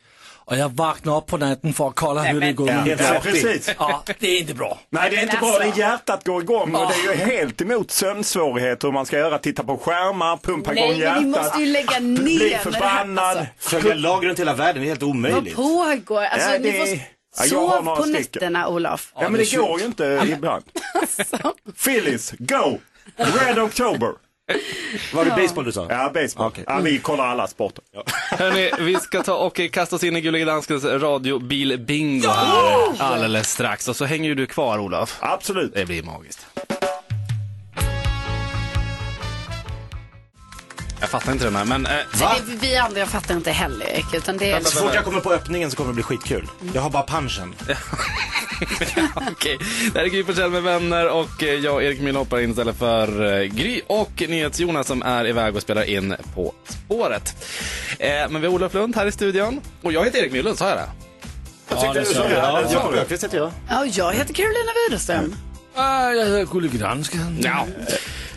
Og jeg vågner op på natten for at kolde Ja, høre men- det gå Ja, ud. det er præcis. Og det er ikke bra. Nej, det är inte bra alltså- när hjärtat går igång och det är ju helt emot sömnsvårigheter hur man ska göra. Titta på skärmar, pumpa Nej, igång men hjärtat. ni måste ju <laughs> lägga ner med det Bli här, alltså. förbannad. Följa lagen runt hela världen är helt Vad omöjligt. pågår? Alltså, Ja, ni det- får Ja, jag har sov några på stycken. nätterna, Olof. Ja, men det går ju inte ibland. Phillies, go! Red October! Var det baseball du sa? Ja, baseball. Ja, vi kollar alla sporter. Hörni, vi ska ta och kasta oss in i Gullige Danskens radiobil-bingo här alldeles strax. Och så hänger ju du kvar, Olof. Absolut. Det blir magiskt. Jag fattar inte den här, men... Eh, <laughs> Så det, vi andra fattar inte heller, Erik, utan det är... Så fort jag kommer på öppningen så kommer det bli skitkul. Jag har bara punchen. Okej, det här är Gry Forssell med vänner och eh, jag, Erik Mill, hoppar in istället för eh, Gry och NyhetsJonas som är iväg och spelar in På spåret. Eh, men vi har Olof Lund här i studion och jag heter Erik Myllund, sa jag det? Jag tyckte du sa det. Ja, det sa du. Jakob Öqvist heter jag. Ja, och jag heter Carolina Widerström. Jeg hedder Gullige Dansken. Ja.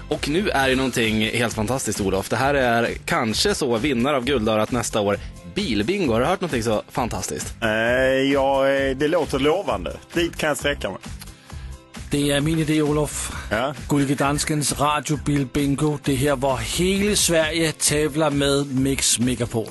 Och nu är det någonting helt fantastiskt Olof. Det här är kanske så vinnare av Guldörat nästa år. Bilbingo, har du hört någonting så fantastiskt? Eh, ja, eh, det låter lovande. Dit kan jag sträcka mig. Det er min idé, Olof. Ja. Gullige Danskens radiobil bingo. Det er her, hvor hele Sverige tævler med Mix Megapol.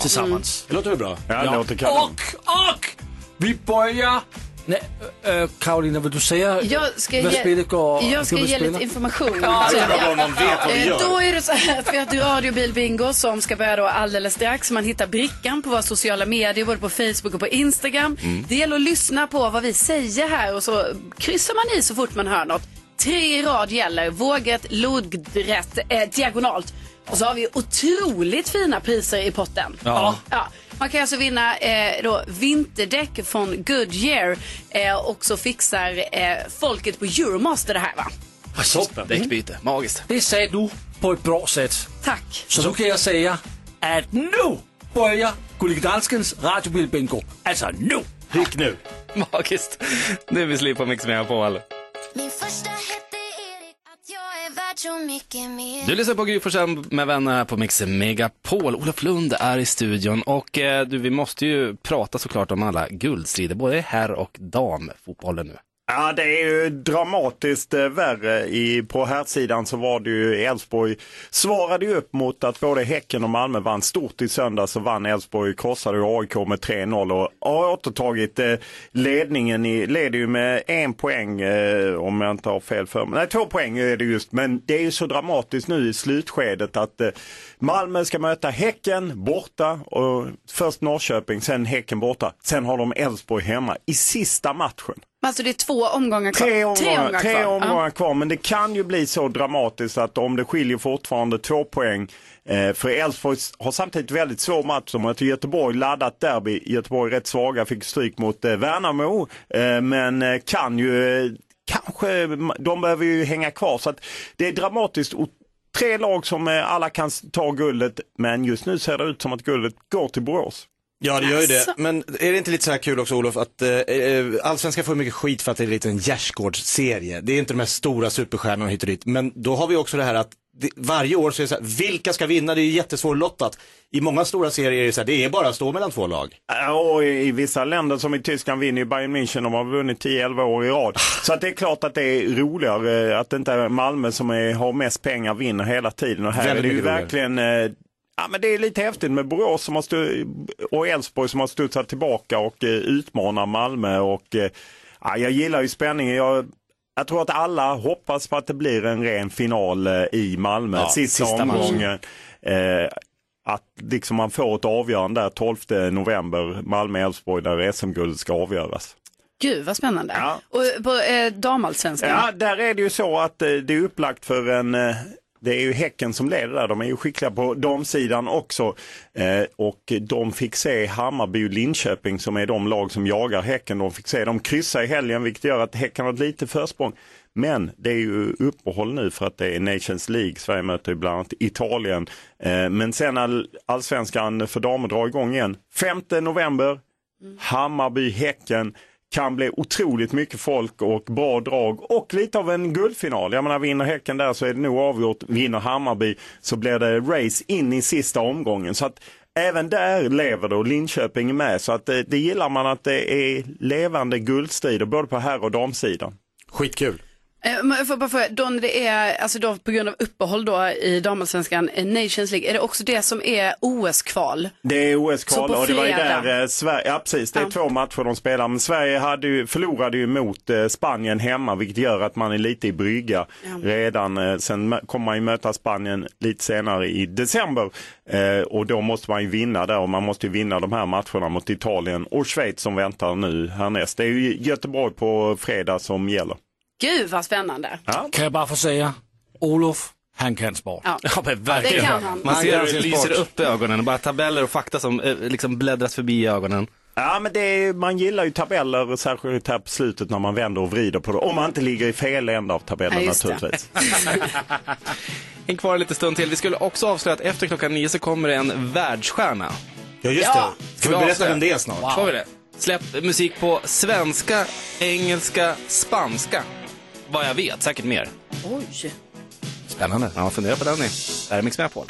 Tilsammens. Mm. Det låter väl bra? Ja, det låter kanon. Och, och! Vi börjar... Nej, äh, Karolina, vill du säga Jag ska vad ge, spelet går? jag ska hur vi ge spelar? lite information. Alltså, Ja, det är bra om man vet vad vi Eh, gör. Då är det så här att vi har ett radiobilbingo som ska börja då alldeles strax. Man hittar brickan på våra sociala medier, både på Facebook och på Instagram. Mm. Det gäller att lyssna på vad vi säger här och så kryssar man i så fort man hör något. Tre i rad gäller, vågrätt, lodrätt, eh, diagonalt. Och så har vi otroligt fina priser i potten. Ja. Ja, man kan alltså vinna eh, då, vinterdäck från Goodyear eh, och så fixar eh, folket på Euromaster det här va? Toppen. Däckbyte, magiskt. <laughs> Det sagde du på ett bra sätt. Tack. Så nu kan jag säga att nu börjar Gullige Danskens radiobil bingo. Alltså nu! Ryck nu! Magiskt. Nu är vi Sleep på Mix Megapol. Min första hette Erik, att jag är värd så mycket mer. Du lyssnar på Gry Forssell med vänner här på Mix Megapol. Olof Lund är i studion och eh, du, vi måste ju prata såklart om alla guldstrider, både herr och damfotbollen nu. Ja, det är ju dramatiskt eh, värre. I, på här sidan så var det ju Elfsborg svarade ju upp mot att både Häcken och Malmö vann stort i söndags så vann Elfsborg, krossade ju AIK med 3-0 och har återtagit eh, ledningen. I, leder ju med en poäng eh, om jag inte har fel för mig. Nej, två poäng är det just. Men det är ju så dramatiskt nu i slutskedet att eh, Malmö ska möta Häcken borta och först Norrköping, sen Häcken borta. Sen har de Elfsborg hemma i sista matchen. Men alltså det är två omgångar kvar. Tre omgångar, tre omgångar, Ja. kvar, men det kan ju bli så dramatiskt att om det skiljer fortfarande två poäng, eh, för Elfsborg har samtidigt väldigt svår match. De möter Göteborg, laddat derby. Göteborg rätt svaga, fick stryk mot eh, Värnamo, eh, men eh, kan ju, eh, kanske, de behöver ju hänga kvar. Så att det är dramatiskt. Och Tre lag som eh, alla kan s- ta guldet, men just nu ser det ut som att guldet går till Borås. Ja, det gör ju det. Men är det inte lite så här kul också, Olof, att eh, eh, allsvenskan får mycket skit för att det är lite en gärdsgårdsserie. Det är inte de här stora superstjärnorna hit och dit. Men då har vi också det här att det, varje år så är det så här, vilka ska vinna? Det är ju jättesvårlottat. I många stora serier är det så här, det är bara att stå mellan två lag. Ja, Och i i vissa länder som i Tyskland vinner ju Bayern München, de har vunnit 10-11 år i rad. Så att det är klart att det är roligare eh, att det inte är Malmö som är, har mest pengar vinner hela tiden. Och här Väldigt är det ju mycket roligare. verkligen eh, Ja, men det är lite häftigt med Borås som har stu- och Elfsborg som har studsat tillbaka och eh, utmanar Malmö. Och, eh, ja, jag gillar ju spänningen. Jag, jag tror att alla hoppas på att det blir en ren final eh, i Malmö. Ja, sista, sista matchen. omgången. Eh, att liksom man får ett avgörande där 12 november, Malmö-Elfsborg, där SM-guldet ska avgöras. Gud vad spännande. Och på eh, damallsvenskan? Ja, där är det ju så att eh, det är upplagt för en eh, det är ju Häcken som leder där, de är ju skickliga på damsidan också. Eh, och de fick se Hammarby och Linköping som är de lag som jagar Häcken, de fick se dem kryssa i helgen vilket gör att Häcken har ett litet försprång. Men det är ju uppehåll nu för att det är Nations League, Sverige möter ju bland annat Italien. Eh, men sen när allsvenskan för damer drar igång igen, 5 november, Hammarby-Häcken kan bli otroligt mycket folk och bra drag och lite av en guldfinal. Jag menar vinner Häcken där så är det nog avgjort. Vinner Hammarby så blir det race in i sista omgången. Så att även där lever det och Linköping är med. Så att det, det gillar man att det är levande guldstrider både på herr och damsidan. Skitkul. Eh, men jag får bara fråga, då när det är, alltså då på grund av uppehåll då i damallsvenskan, eh, Nations League, är det också det som är OS-kval? Det är Så OS-kval på och det var ju fredag. där eh, Sverige, ja precis, det är två matcher de spelar. Men Sverige hade ju, förlorade ju mot eh, Spanien hemma vilket gör att man är lite i brygga redan. Eh, sen mö- kommer man ju möta Spanien lite senare i december eh, och då måste man ju vinna där och man måste ju vinna de här matcherna mot Italien och Schweiz som väntar nu härnäst. Det är ju Göteborg på fredag som gäller. Gud vad spännande. Kan jag bara få säga, Olof, han kan sport. Ja. men Det verkligen. kan han. Man ser hur Han det kan sin lyser sport. upp i ögonen. Bara tabeller och fakta som eh, liksom bläddras förbi i ögonen. Ja men det är, man gillar ju tabeller särskilt här på slutet när man vänder och vrider på det. Om man inte ligger i fel ända av tabellen Ja, just det. naturligtvis. En kvar en liten stund till. Vi skulle också avslöja att efter klockan nio så kommer det en världsstjärna. Ja just Ja. det. Ska vi berätta vem det är snart? Får vi det? Släpp musik på svenska, engelska, spanska. Vad jag vet, säkert mer. Oj. Spännande. Ja, fundera på den ni. Det här är Mix Megapol.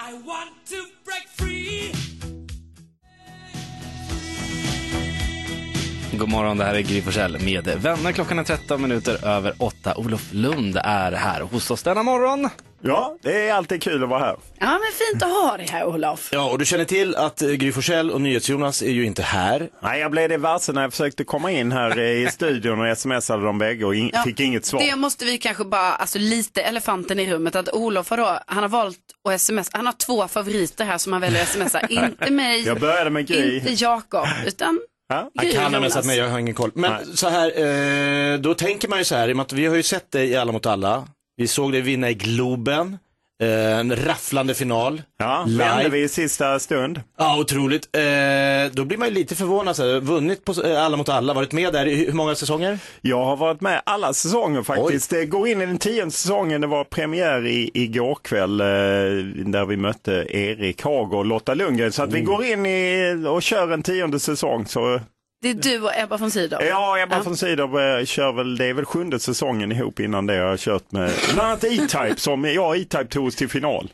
God morgon, det här är Gry Forssell med vänner. Klockan är 13 minuter över 8. Olof Lund är här hos oss denna morgon. Ja, det är alltid kul att vara här. Ja men fint att ha dig här Olof. Ja, och du känner till att eh, Gry Forssell och NyhetsJonas är ju inte här. Nej, jag blev det varse när jag försökte komma in här eh, i studion och smsade de bägge och in- Ja, fick inget svar. Det måste vi kanske bara, alltså lite elefanten i rummet, att Olof har då, han har valt att sms, han har två favoriter här som han väljer <laughs> att smsa, inte mig, Jag började med Gry. inte Jakob, utan Jag kan ha missat mig, jag har ingen koll. Men så här, eh, då tänker man ju så här, i och med att vi har ju sett dig i Alla mot alla. Vi såg dig vinna i Globen, eh, en rafflande final. Ja, vände vi i sista stund. Ja, otroligt. Eh, då blir man ju lite förvånad, så här, vunnit på eh, Alla mot alla, varit med där i hur många säsonger? Jag har varit med alla säsonger faktiskt. Det går in i den tionde säsongen. Det var premiär i, igår kväll eh, där vi mötte Erik Haag och Lotta Lundgren. Så att vi går in i, och kör en tionde säsong. Så, eh, det är du och Ebba von Sydow. ja, Ebba von Sydow eh, kör väl, det är väl sjunde säsongen ihop innan det jag har kört med bland annat E-Type som jag E-Type tog oss till final.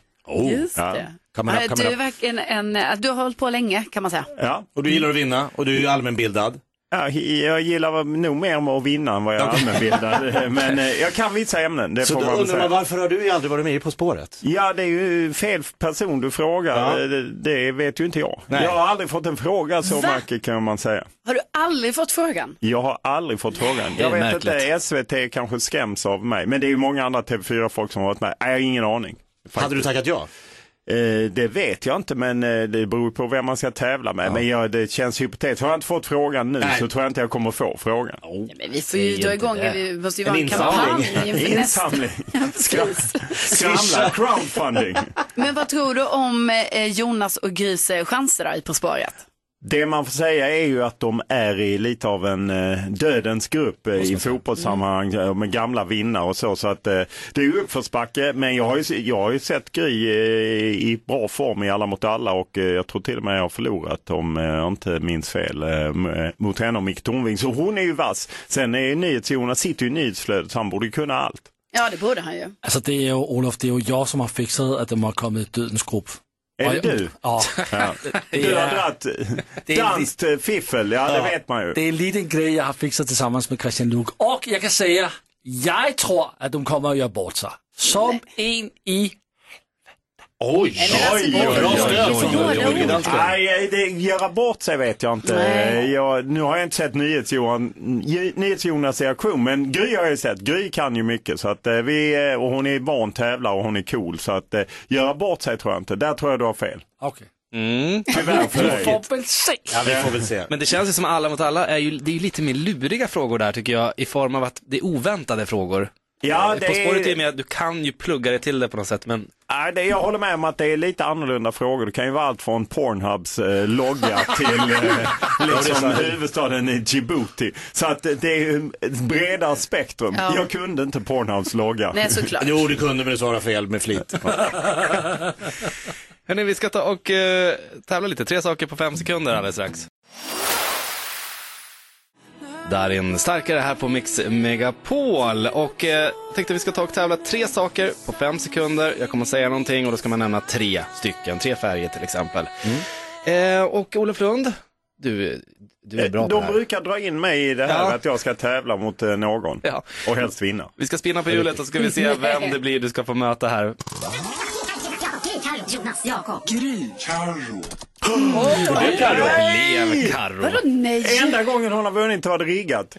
Just Oh, Ja. det. Eh, du, är verkligen en, eh, du har hållit på länge kan man säga. Ja. Och du gillar att vinna och du är ju Mm. allmänbildad. Ja, jag gillar nog mer med att vinna än vad jag är allmänbildad. Men eh, jag kan vissa ämnen, det så får då man väl undrar man, säga. varför har du ju aldrig varit med i På spåret? Ja, det är ju fel person du frågar. Eh, Ja. Det, det vet ju inte jag. Nej. Jag har aldrig fått en fråga så Va? mycket kan man säga. Har du aldrig fått frågan? Jag har aldrig fått frågan. Det är Jag vet märkligt. inte, eh, SVT kanske skräms av mig. Men det är ju många andra TV4-folk som har varit med. Nej, jag har ingen aning. Hade du tackat ja? Eh, det vet jag inte, men eh, det beror på vem man ska tävla med. Men ja, det känns hypotetiskt. Har jag inte fått frågan nu så tror jag inte jag kommer få frågan. Men vi får ju dra igång, vi måste ju vara en kampanj insamling. inför nästa. insamling. Swisha. Skramla, crowdfunding. Men vad tror du om eh, Jonas och Grys eh, chanser där i På spåret? Det man får säga är ju att de är i lite av en eh, dödens grupp eh, i fotbollssammanhang eh, med gamla vinnare och så. Så att eh, det är ju uppförsbacke. Men jag har ju, se- jag har ju sett Gry eh, i bra form i Alla mot alla och eh, jag tror till och med jag har förlorat om eh, jag inte minns fel eh, m- eh, mot henne och Micke Tornving. Så hon är ju vass. Sen är ju NyhetsJonas, sitter ju i nyhetsflödet så han borde ju kunna allt. Ja, det borde han ju. Altså det er jo, Olof, det er jo jeg som har fikset, at der må komme et dødens gruppe. Är det du? Ja. Ja. <laughs> Det Du har är- dratt Det är danskt eh, fiffel, ja det vet man ju. Det är en liten grej jag har fixat tillsammans med Christian Luuk. Och jag kan säga, jag tror att de kommer att göra bort sig. Som en i... Oj, Nej, eh, det, göra bort sig vet jag inte. Eh, Nej. Jag, nu har jag inte sett NyhetsJohan- Ny- NyhetsJonas reaktion, men Gry har jag ju sett. Gry kan ju mycket. Så att, eh, vi, eh, och hon är van tävlare och hon är cool. Så att eh, göra bort sig tror jag inte. Där tror jag du har fel. Okej. Mm. Tyvärr för dig. Vi får väl se. Ja, vi får väl <laughs> se. Men det känns ju som alla mot alla, är ju, det är ju lite mer luriga frågor där tycker jag, i form av att det är oväntade frågor. Ja, det Eh, På är- spåret är ju mer att du kan ju plugga det till det på något sätt, men Nej, det, jag håller med om att det är lite annorlunda frågor. Det kan ju vara allt från Pornhubs eh, <laughs> logga till eh, Ja, det liksom, är sant. huvudstaden i Djibouti. Så att eh, det är ju ett bredare spektrum. Ja. Jag kunde inte Pornhubs logga. Eh, Nej, såklart. Jo, du kunde men du svarade fel med <laughs> flit. Hörni, vi ska ta och eh, tävla lite. Tre saker på fem sekunder alldeles strax. Darin Starkare här på Mix Megapol och eh, tänkte vi ska ta och tävla tre saker på fem sekunder. Jag kommer säga någonting och då ska man nämna tre stycken, tre färger till exempel. Eh, och Olof Lund, du, du är Mm. Eh, bra på det De här. brukar dra in mig i det här att jag ska tävla mot eh, någon och helst vinna. Vi ska spinna på hjulet och så ska <laughs> vi se vem det blir du ska få möta här. Carro, Jonas, Jakob. Gry. Carro. Nej! Carro. Lev Carro. nej? Enda gången hon har vunnit var det riggat.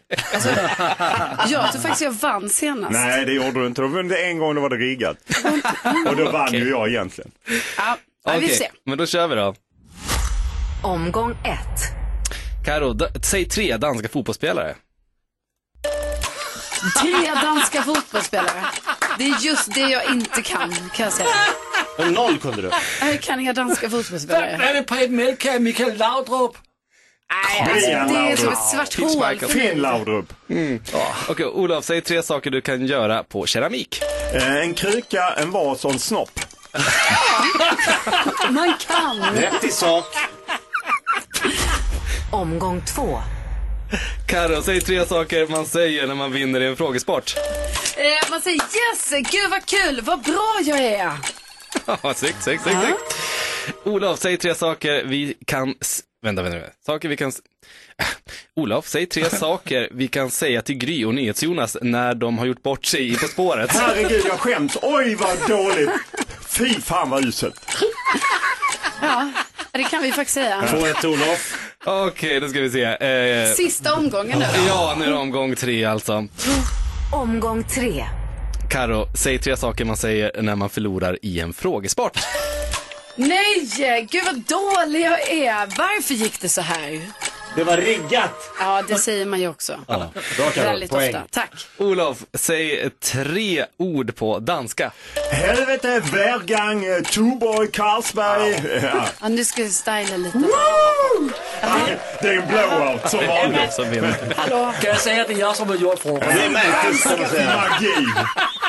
Jag tror faktiskt jag vann senast. Nej, det gjorde du inte. Du har vunnit en gång och då var det riggat. Och då vann ju jag egentligen. Ja, ja, vi får se. men då kör vi då. Omgång ett. Karo, d- säg tre danska fotbollsspelare. Tre danska fotbollsspelare. Det är just det jag inte kan, kan jag säga. Noll kunde du. Jag kan inga danska fotbollsspelare. Hvad er det på et mælk af Michael Laudrup? Nej, alltså, det är som ett svart hål för mig. Laudrup. Mm. Okej, Olof, säg tre saker du kan göra på keramik. Eh, En kruka, en vas och en snopp. Man kan. i sak. Omgång två. Karo, säg tre saker man säger när man vinner i en frågesport. Eh, man säger yes, gud vad kul, vad bra jag är. <laughs> Ja, snyggt, snyggt, snyggt. snyggt. Olof, säg tre saker vi kan... s- Vänta, vänta, vänta. Saker vi kan... s- <laughs> Olof, säg <laughs> tre saker vi kan säga till Gry och NyhetsJonas när de har gjort bort sig i På <laughs> spåret. Herregud, jag skäms. Oj, vad dåligt. Fy fan vad uselt. Ja, det kan vi faktiskt säga. 2-1 Olof. Okej, då ska vi se. Eh, Sista omgången nu. Ja, nu är det omgång tre alltså. Omgång tre. Karo, säg tre saker man säger när man förlorar i en frågesport. Nej, gud vad dålig jag är. Varför gick det så här? Det var riggat. Ja, det säger man ju också. Ja. Bra Väldigt ofta. Tack. Olof, säg tre ord på danska. Helvete, Värgang, eh, Tuborg, Carlsberg. Ja. Ja, nu ska vi styla lite. Det är en blowout som vanligt. Hallå? Kan jag säga att det är jag som har gjort frågan? Det märktes, kan man säga. Magi.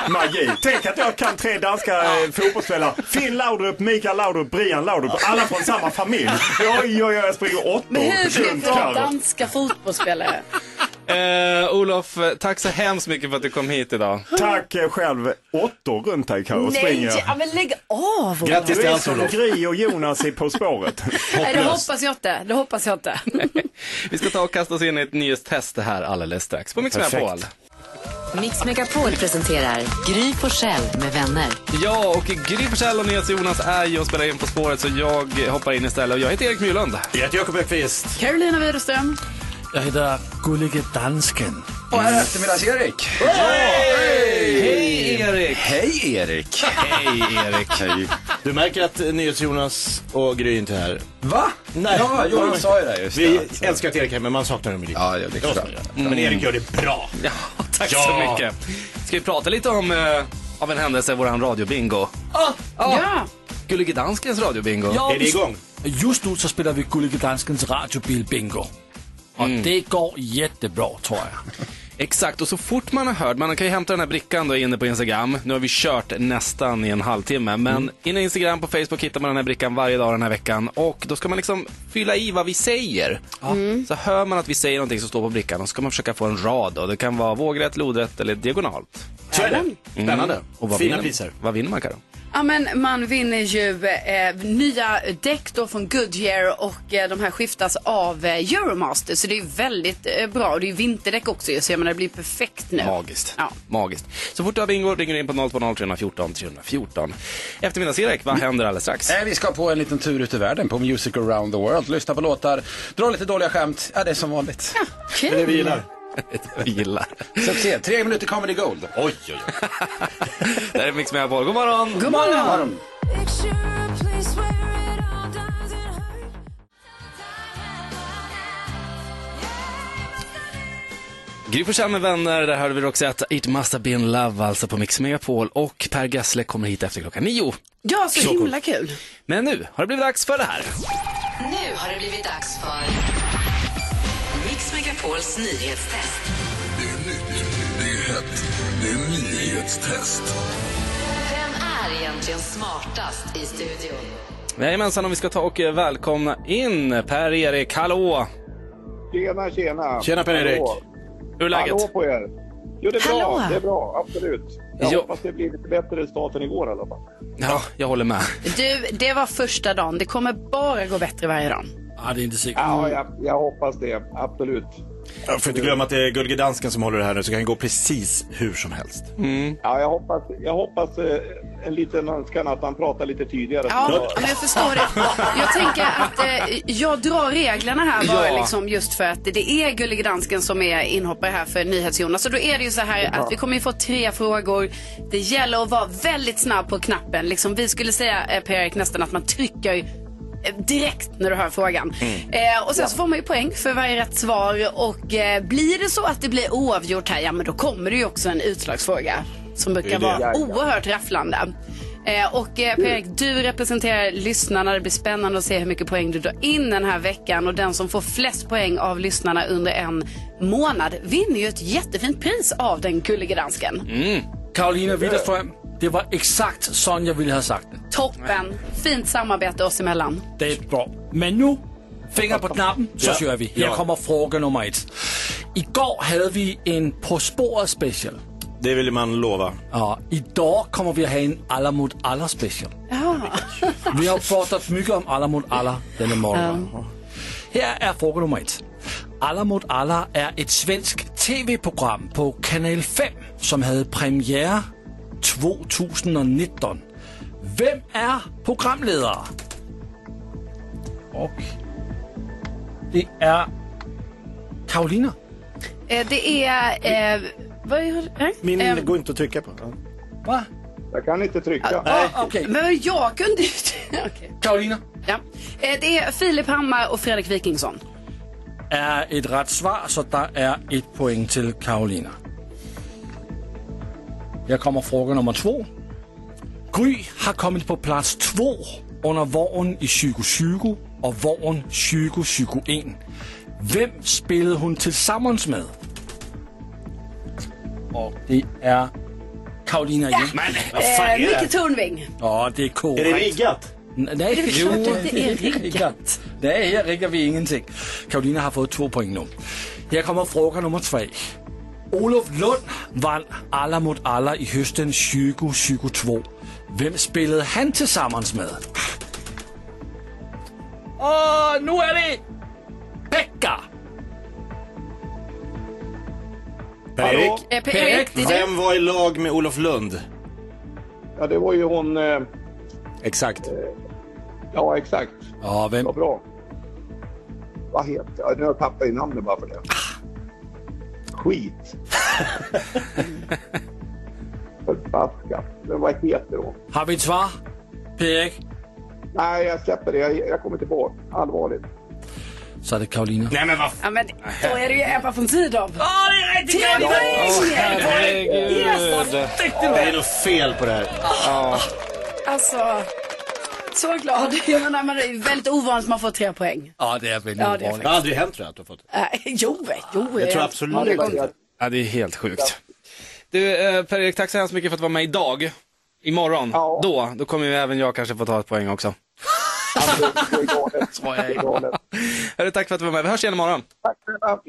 Magi. Tänk att jag kan tre danska eh, fotbollsspelare. Finn Laudrup, Mikael Laudrup, Brian Laudrup. Alla från samma familj. Oj, oj, oj, jag springer åttor Men hur ska vi runt vara Carro. danska fotbollsspelare? Eh, Olof, tack så hemskt mycket för att du kom hit idag. Tack eh, själv. Åttor runt dig Carro springer. Nej, ja, men lägg av. Ola. Du är som Gry och Jonas i På spåret. Nej, det hoppas jag inte. Det hoppas jag inte. Vi ska ta och kasta oss in i ett nyhetstest här alldeles strax på Mix Perfekt. Megapol. Mix Megapol presenterar Gry Forssell med vänner. Ja, och Gry Forssell och Nyhets Jonas är ju och spelar in På spåret så jag hoppar in istället. Och jag heter Erik Myrlund. Jag heter Jakob Ekqvist. Carolina Widerström. Jeg hedder Gullige Dansken. Och här är eftermiddags-Erik. Hej Erik! Hej Erik! Hej Erik! Hej. Du märker att eh, NyhetsJonas och Gry inte är här. Va? Nej. Ja, Jonas sa ju det just Vi det, alltså. älskar att Erik är här, men man saknar dem ju lite. Ja, ja, det är klart. Mm. Men Erik gör det bra. Ja, tack så Ja. mycket. Ska vi prata lite om, eh, av en händelse, våran radiobingo? Ja. Gullige Danskens radiobingo. Just nu så spiller Mm. vi Gullige Danskens radiobil bingo. Og det går jättebra, tror jeg. Exakt, och så fort man har hört, man kan ju hämta den här brickan då inne på Instagram. Nu har vi kört nästan i en halvtimme, men inne på Instagram, på Facebook hittar man den här brickan varje dag den här veckan. Och då ska man liksom fylla i vad vi säger. Så hör man att vi säger någonting som står på brickan, och så ska man försöka få en rad då. Det kan vara vågrätt, lodrätt eller diagonalt. Så är det. Mm. Spännande. Och vad Fina vinner, priser. Vad vinner man Karo? Ja, men man vinner ju eh, nya däck då från Goodyear och eh, de här skiftas av eh, Euromaster. Så det är ju väldigt eh, bra. Och det är ju vinterdäck också ju, så jag menar det blir perfekt nu. Magiskt. Magiskt. Så fort du har bingo ringer du in på 020 314 314. Eftermiddags-Erik, vad händer alldeles strax? Eh, Vi ska på en liten tur ut i världen på Music around the world. Lyssna på låtar, dra lite dåliga skämt. Ja, det är som vanligt. Ja, kul. Det är det vi gillar. Jag gillar. Succé, tre minuter comedy gold. Oj, oj, oj. det här är Mix Megapol. God morgon! God morgon! God morgon. Gry Forssell med vänner, där hörde vi Roxette, It must have been love alltså på Mix Megapol och Per Gessle kommer hit efter klockan nio. Ja, så coolt. himla kul. Men nu har det blivit dags för det här. Nu har det blivit dags för Mix Megapols nyhetstest. Det är nyhetstest. Vem är egentligen smartast i studion? Jajamensan, om vi ska ta och eh, välkomna in Per-Erik, hallå! Tjena, tjena. Tjena, Per-Erik. Hallå. Hur är läget? Hallå på er. Jo, det är bra. Hallå. Det är bra, absolut. Jag Jo. hoppas det blir lite bättre start än igår i alla fall. Mm. Ja, jag håller med. Du, det var första dagen. Det kommer bara gå bättre varje dag. Ja, det är inte säkert. Ja, jag, jag hoppas det. Absolut. Jag får inte glömma att det är Gullige Dansken som håller det här nu, så kan det gå precis hur som helst. Ja, jag hoppas, jag hoppas eh, en liten önskan att han pratar lite tydligare. Ja, men jag förstår det. Jag tänker att eh, jag drar reglerna här bara Ja. liksom just för att det är Gullige Dansken som är inhoppare här för NyhetsJonas. Så då är det ju så här Ja. att vi kommer ju få tre frågor. Det gäller att vara väldigt snabb på knappen. Liksom, vi skulle säga, eh, Per-Erik, nästan att man trycker eh, direkt när du hör frågan. Mm. Eh, och sen så får man ju poäng för varje rätt svar. Och eh, blir det så att det blir oavgjort här, ja men då kommer det ju också en utslagsfråga. Som Det är brukar det. vara Ja, Mm. ja. oerhört rafflande. Eh, och eh, Erik, du representerar lyssnarna. Det blir spännande att se hur mycket poäng du drar in den här veckan. Och den som får flest poäng av lyssnarna under en månad vinner ju ett jättefint pris av den gullige dansken. Mm. Karolina Widerström, det var exakt sån jag ville ha sagt det. Toppen! Fint samarbete oss emellan. Det är bra. Men nu, finger på knappen, så Ja. kör vi. Här Ja. kommer fråga nummer ett. Igår hade vi en På spåret special. Det vill man lova. Ja, idag kommer vi att ha en Alla mot alla special. Vi har pratat mycket om Alla mot alla denna morgon. Här är fråga nummer ett. Alla mot alla är ett svenskt tv-program på Kanal 5 som hade premiär 2019. Vem är programledare? Och det är Karolina. Eh, det är... Eh, vad är det? Min Eh, går inte att trycka på. Va? Jag kan inte trycka. ah, okej. Men jag kunde ju... <laughs> Okej. Karolina. Ja. Eh, det är Filip Hammar och Fredrik Wikingsson. Eh, är ett rätt svar, så där är ett poäng till Karolina. Här kommer fråga nummer två. Gry har kommit på plats två under våren i 2020 och våren 2021. Vem spelade hon tillsammans med? Och det är Karolina igen. Eh, Micke Tornving. Ja, det är korrekt. Är det riggat? N- Nej, Det är klart att det är riggat. Nej, här riggar vi ingenting. Karolina har fått två poäng nu. Här kommer fråga nummer tre. Olof Lund vann Alla mot alla i hösten 2022. Vem spelade han tillsammans med? Åh, nu är det Pekka! Per-Erik? Eh, Per-Erik, det är du. Vem var i lag med Olof Lund? Ja, det var ju hon... Eh, Exakt. ja, exakt. Ja, vem? Vad bra. Vad heter... Ja, nu har jag tappat i namnet bara för det. Skit. Förbaskat. Men vad heter hon? Har vi ett svar? Per-Erik? Nej, jag släpper det. Jag, jag kommer inte på. Allvarligt. Så är det Karolina. Nej, men vad Ja, men då är det ju Ebba von Sydow. Ja, det är rätt! Tre poäng! Yes! Det är nog fel på det här. Alltså, så glad. Jag menar, men det är väldigt ovanligt att man får tre poäng. Ja, det är väldigt Ja, det är ovanligt. faktiskt- Det har aldrig hänt tror jag att du har fått. Äh, jo, jo. Jag tror absolut många inte. gånger. Ja, det är helt sjukt. Du, eh, Per-Erik, tack så hemskt mycket för att du var med idag. Imorgon, då, då kommer ju även jag kanske få ta ett poäng också. Alltså, <laughs> Skojar jag. Hörru, Tack för att du var med. Vi hörs igen imorgon.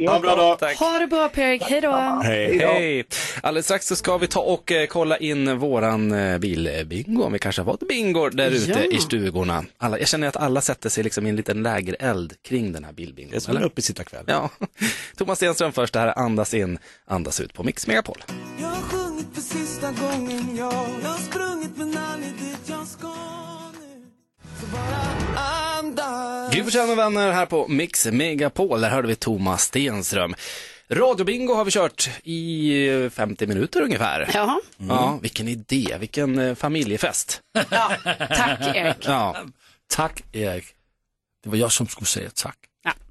Ha en bra dag. Tack. Ha det bra Per-Erik, hej då. Hej. Hej. Alldeles strax så ska vi ta och eh, kolla in våran eh, bilbingo, om vi kanske har fått bingor där ute Ja. i stugorna. Alla, jag känner att alla sätter sig liksom i en liten lägereld kring den här bilbingon. Det är som en uppesittarkväll. Ja. <laughs> Thomas Stenström först, det här är Andas in, andas ut på Mix Megapol. Jag har sjungit för sista gången, jag Jag har sprungit men aldrig dit jag ska nu Så bara andas Gry Forssell med vänner här på Mix Megapol, där hörde vi Thomas Stenström. Radiobingo har vi kört i eh, 50 minuter ungefär. Jaha. Ja, vilken idé, vilken eh, familjefest. Tack Erik. Ja. Tack Erik. Det var jag som skulle säga tack.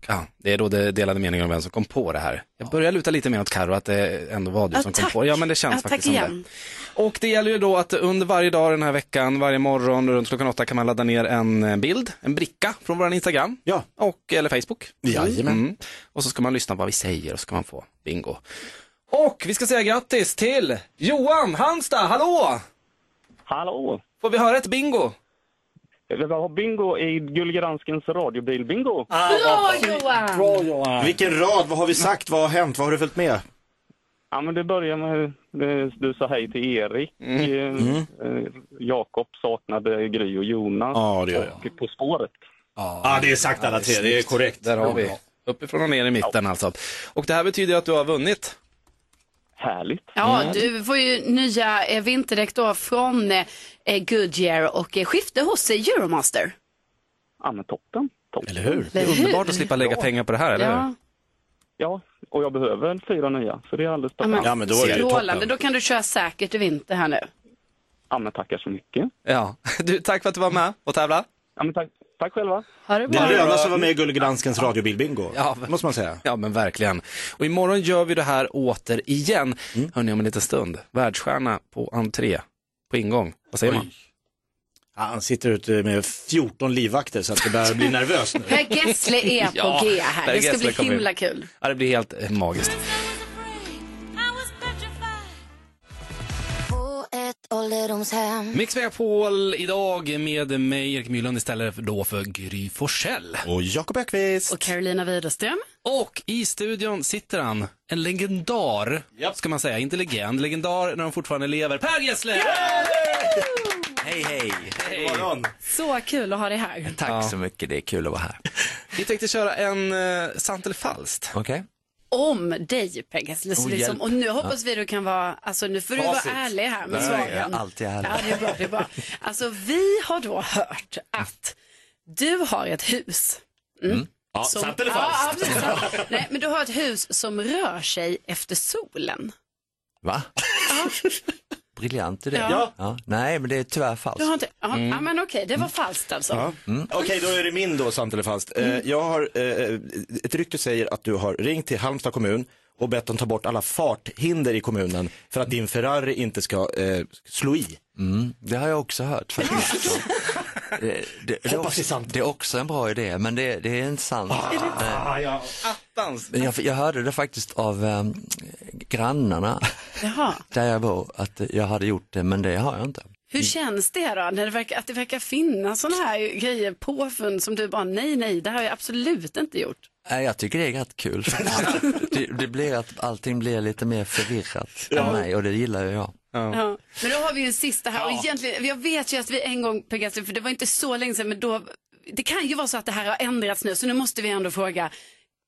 Ja, det är då det delade meningar om vem som kom på det här. Jag börjar luta lite mer åt Karo att det ändå var du Ja, som kom tack. på det. Ja, men det känns Ja, tack faktiskt som igen. det. Och det gäller ju då att under varje dag den här veckan, varje morgon runt klockan åtta kan man ladda ner en eh, bild, en bricka från vår Instagram. Ja. Och, eller Facebook. Mm. Jajamän. Och så ska man lyssna på vad vi säger och så ska man få bingo. Och vi ska säga grattis till Johan Halmstad, hallå! Hallå! Får vi höra ett bingo? Vi har bingo i Gullgranskens radiobilbingo. Ah. Bra Johan! Bra Johan! Vilken rad, vad har vi sagt, vad har hänt, vad har du följt med? Ja, men det börjar med eh, du sa hej till Erik. Mm. Eh, eh, Jakob saknade Gry och Jonas. Ja, det gör jag. Och På spåret. Ja, det är sagt alla tre, det är korrekt. Där har vi. Uppifrån och ner i mitten alltså. Och det här betyder ju att du har vunnit. Härligt. Ja, Mm. du får ju nya eh, vinterdäck då från eh, eh, Goodyear och eh, skifte hos eh, Euromaster. Ja, men toppen. toppen. Eller hur? Det är Eller hur? underbart att slippa lägga pengar på det här, eller <laughs> Ja. hur? Ja, och jag behöver fyra nya, så det är alldeles toppen. Strålande, då kan du köra säkert i vinter här nu. Ja, men tackar så mycket. Ja. Du, tack för att du var med och tävla. Ja, men tack, tack själva. Ha det Det bra. lönar sig att vara med i Gulledanskens radiobilbingo. Ja, måste man säga. Ja, men verkligen. Och imorgon gör vi det här återigen. Hörni, om en liten stund. Världsstjärna på entré, på ingång. Vad säger man? Ja, han sitter ute med 14 livvakter så att det börjar bli nervöst nu. Per Gessle <laughs> är på Ja, G här. Per Det ska Gessle bli kommer himla in. kul. Ja, det blir helt eh, magiskt. På ett ålderdomshem Mix Megapol idag med mig, Erik Mylund, istället för- då för Gry Forssell. Och Jakob Ekvist. Och Carolina Widerström. Och i studion sitter han, en legendar, ska man säga, inte legend, legendar när de fortfarande lever, Per Gessle! Hej, hej! Så kul att ha dig här. Tack så mycket, det är kul att vara här. Vi tänkte köra en eh, sant eller falskt. Okej. Om dig Per Gessle. Så Oh, liksom, hjälp. och nu hoppas vi du kan vara, alltså nu får du vara Facit. ärlig här med Nej, svaren. jag är alltid ärlig. Ja, det är bra, det är bra. Alltså vi har då hört att du har ett hus. Mm. Ja, som- sant eller Ja, falskt? precis, sant. Nej, men du har ett hus som rör sig efter solen. Va? Briljant idé. Ja. Nej, men det är tyvärr falskt. Du har inte, ja, Mm. ja, men okej, det var falskt alltså. Okej, då är det min då, sant eller falskt. Eh, Jag har, eh, ett rykte säger att du har ringt till Halmstad kommun och bett dem ta bort alla farthinder i kommunen för att din Ferrari inte ska eh, slå i. Mm, det har jag också hört faktiskt. <laughs> det, det, det, är också, det är också en bra idé, men det, det är inte sant. Nej. Ah, ja. Attans! Men jag, jag hörde det faktiskt av eh, grannarna Jaha. där jag bor, att jag hade gjort det, men det har jag inte. Hur känns det då, när det verkar, att det verkar finnas sådana här grejer, påfund som du bara, nej, nej, det här har jag absolut inte gjort. Nej, jag tycker det är rätt <laughs> kul. faktiskt. det, det blir att allting blir lite mer förvirrat Ja. än mig och det gillar ju jag. Ja. Men då har vi ju en sista här. Och egentligen, jag vet ju att vi en gång, Per Gessle, för det var inte så länge sedan, men då, det kan ju vara så att det här har ändrats nu, så nu måste vi ändå fråga,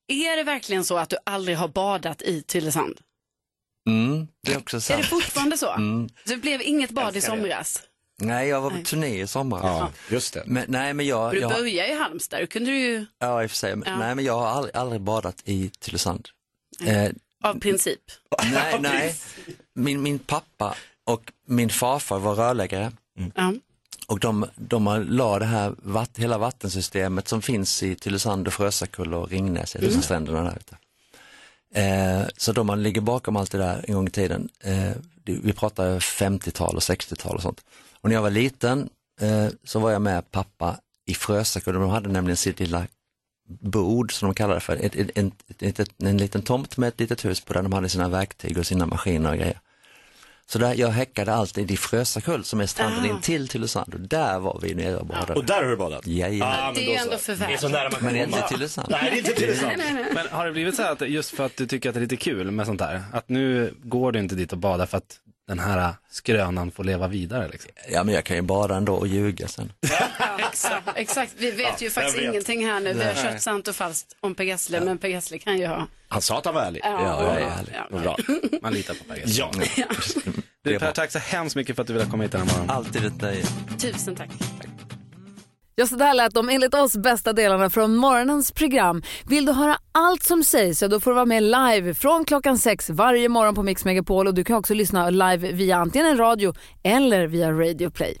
är det verkligen så att du aldrig har badat i Tylösand? Mm, det är också Är sant. det fortfarande så? Mm. Så Det blev inget bad i Älskar det. somras? Nej, jag var på turné i somras. Ja, just det. Men, nej, men Och jag, Du jag, började i Halmstad, då kunde du ju, ja, i och för sig, men, Ja. nej, men jag har aldrig, aldrig badat i Tylösand. Eh, av princip. nej, nej. Min, min pappa och min farfar var rörläggare. Ja. Och de, de har- la det här vatt, hela vattensystemet som finns i Tylösand och Frösakulla och Ringnäs, Mm. mm. stränderna där ute. Eh, så de har- ligger bakom allt det där en gång i tiden. Eh, det- vi pratar 50-tal och 60-tal och sånt. Och när jag var liten eh, så var jag med pappa i Frösakulla, de hade nämligen sitt lilla bod som de kallar det för, ett, ett, ett, ett, ett, en liten tomt med ett litet hus på där de hade sina verktyg och sina maskiner och grejer. Så där, jag häckade alltid i Frösakull som är stranden Ah. in till Tylösand och där var vi nere och badade. Och där har du badat? Jajamän. men Det är då ju så. ändå för väl. Det är så nära man kan Men det är komma. inte Tylösand. Nej, det är inte Tylösand. Nej, nej, nej. Men har det blivit så här att just för att du tycker att det är lite kul med sånt här, att nu går du inte dit och badar för att den här skrönan får leva vidare liksom? Ja men jag kan ju bada ändå och ljuga sen. Exakt. Exakt, vi vet ju Ja, faktiskt jag vet. ingenting här nu. Vi har Nej. kört sant och falskt om Per Gessle, men Per Gessle kan ju ha. Han sa att han var ärlig. Ja, Ja, jag är ja, ärlig. Bra. Man litar på Per Gessle. Ja. Du Per, tack så hemskt mycket för att du ville komma hit den här morgonen. Alltid ett nöje. Tusen tack. Ja, så där lät de enligt oss bästa delarna från morgonens program. Vill du höra allt som sägs så då får du vara med live från klockan sex varje morgon på Mix Megapol och du kan också lyssna live via antingen en radio eller via Radio Play.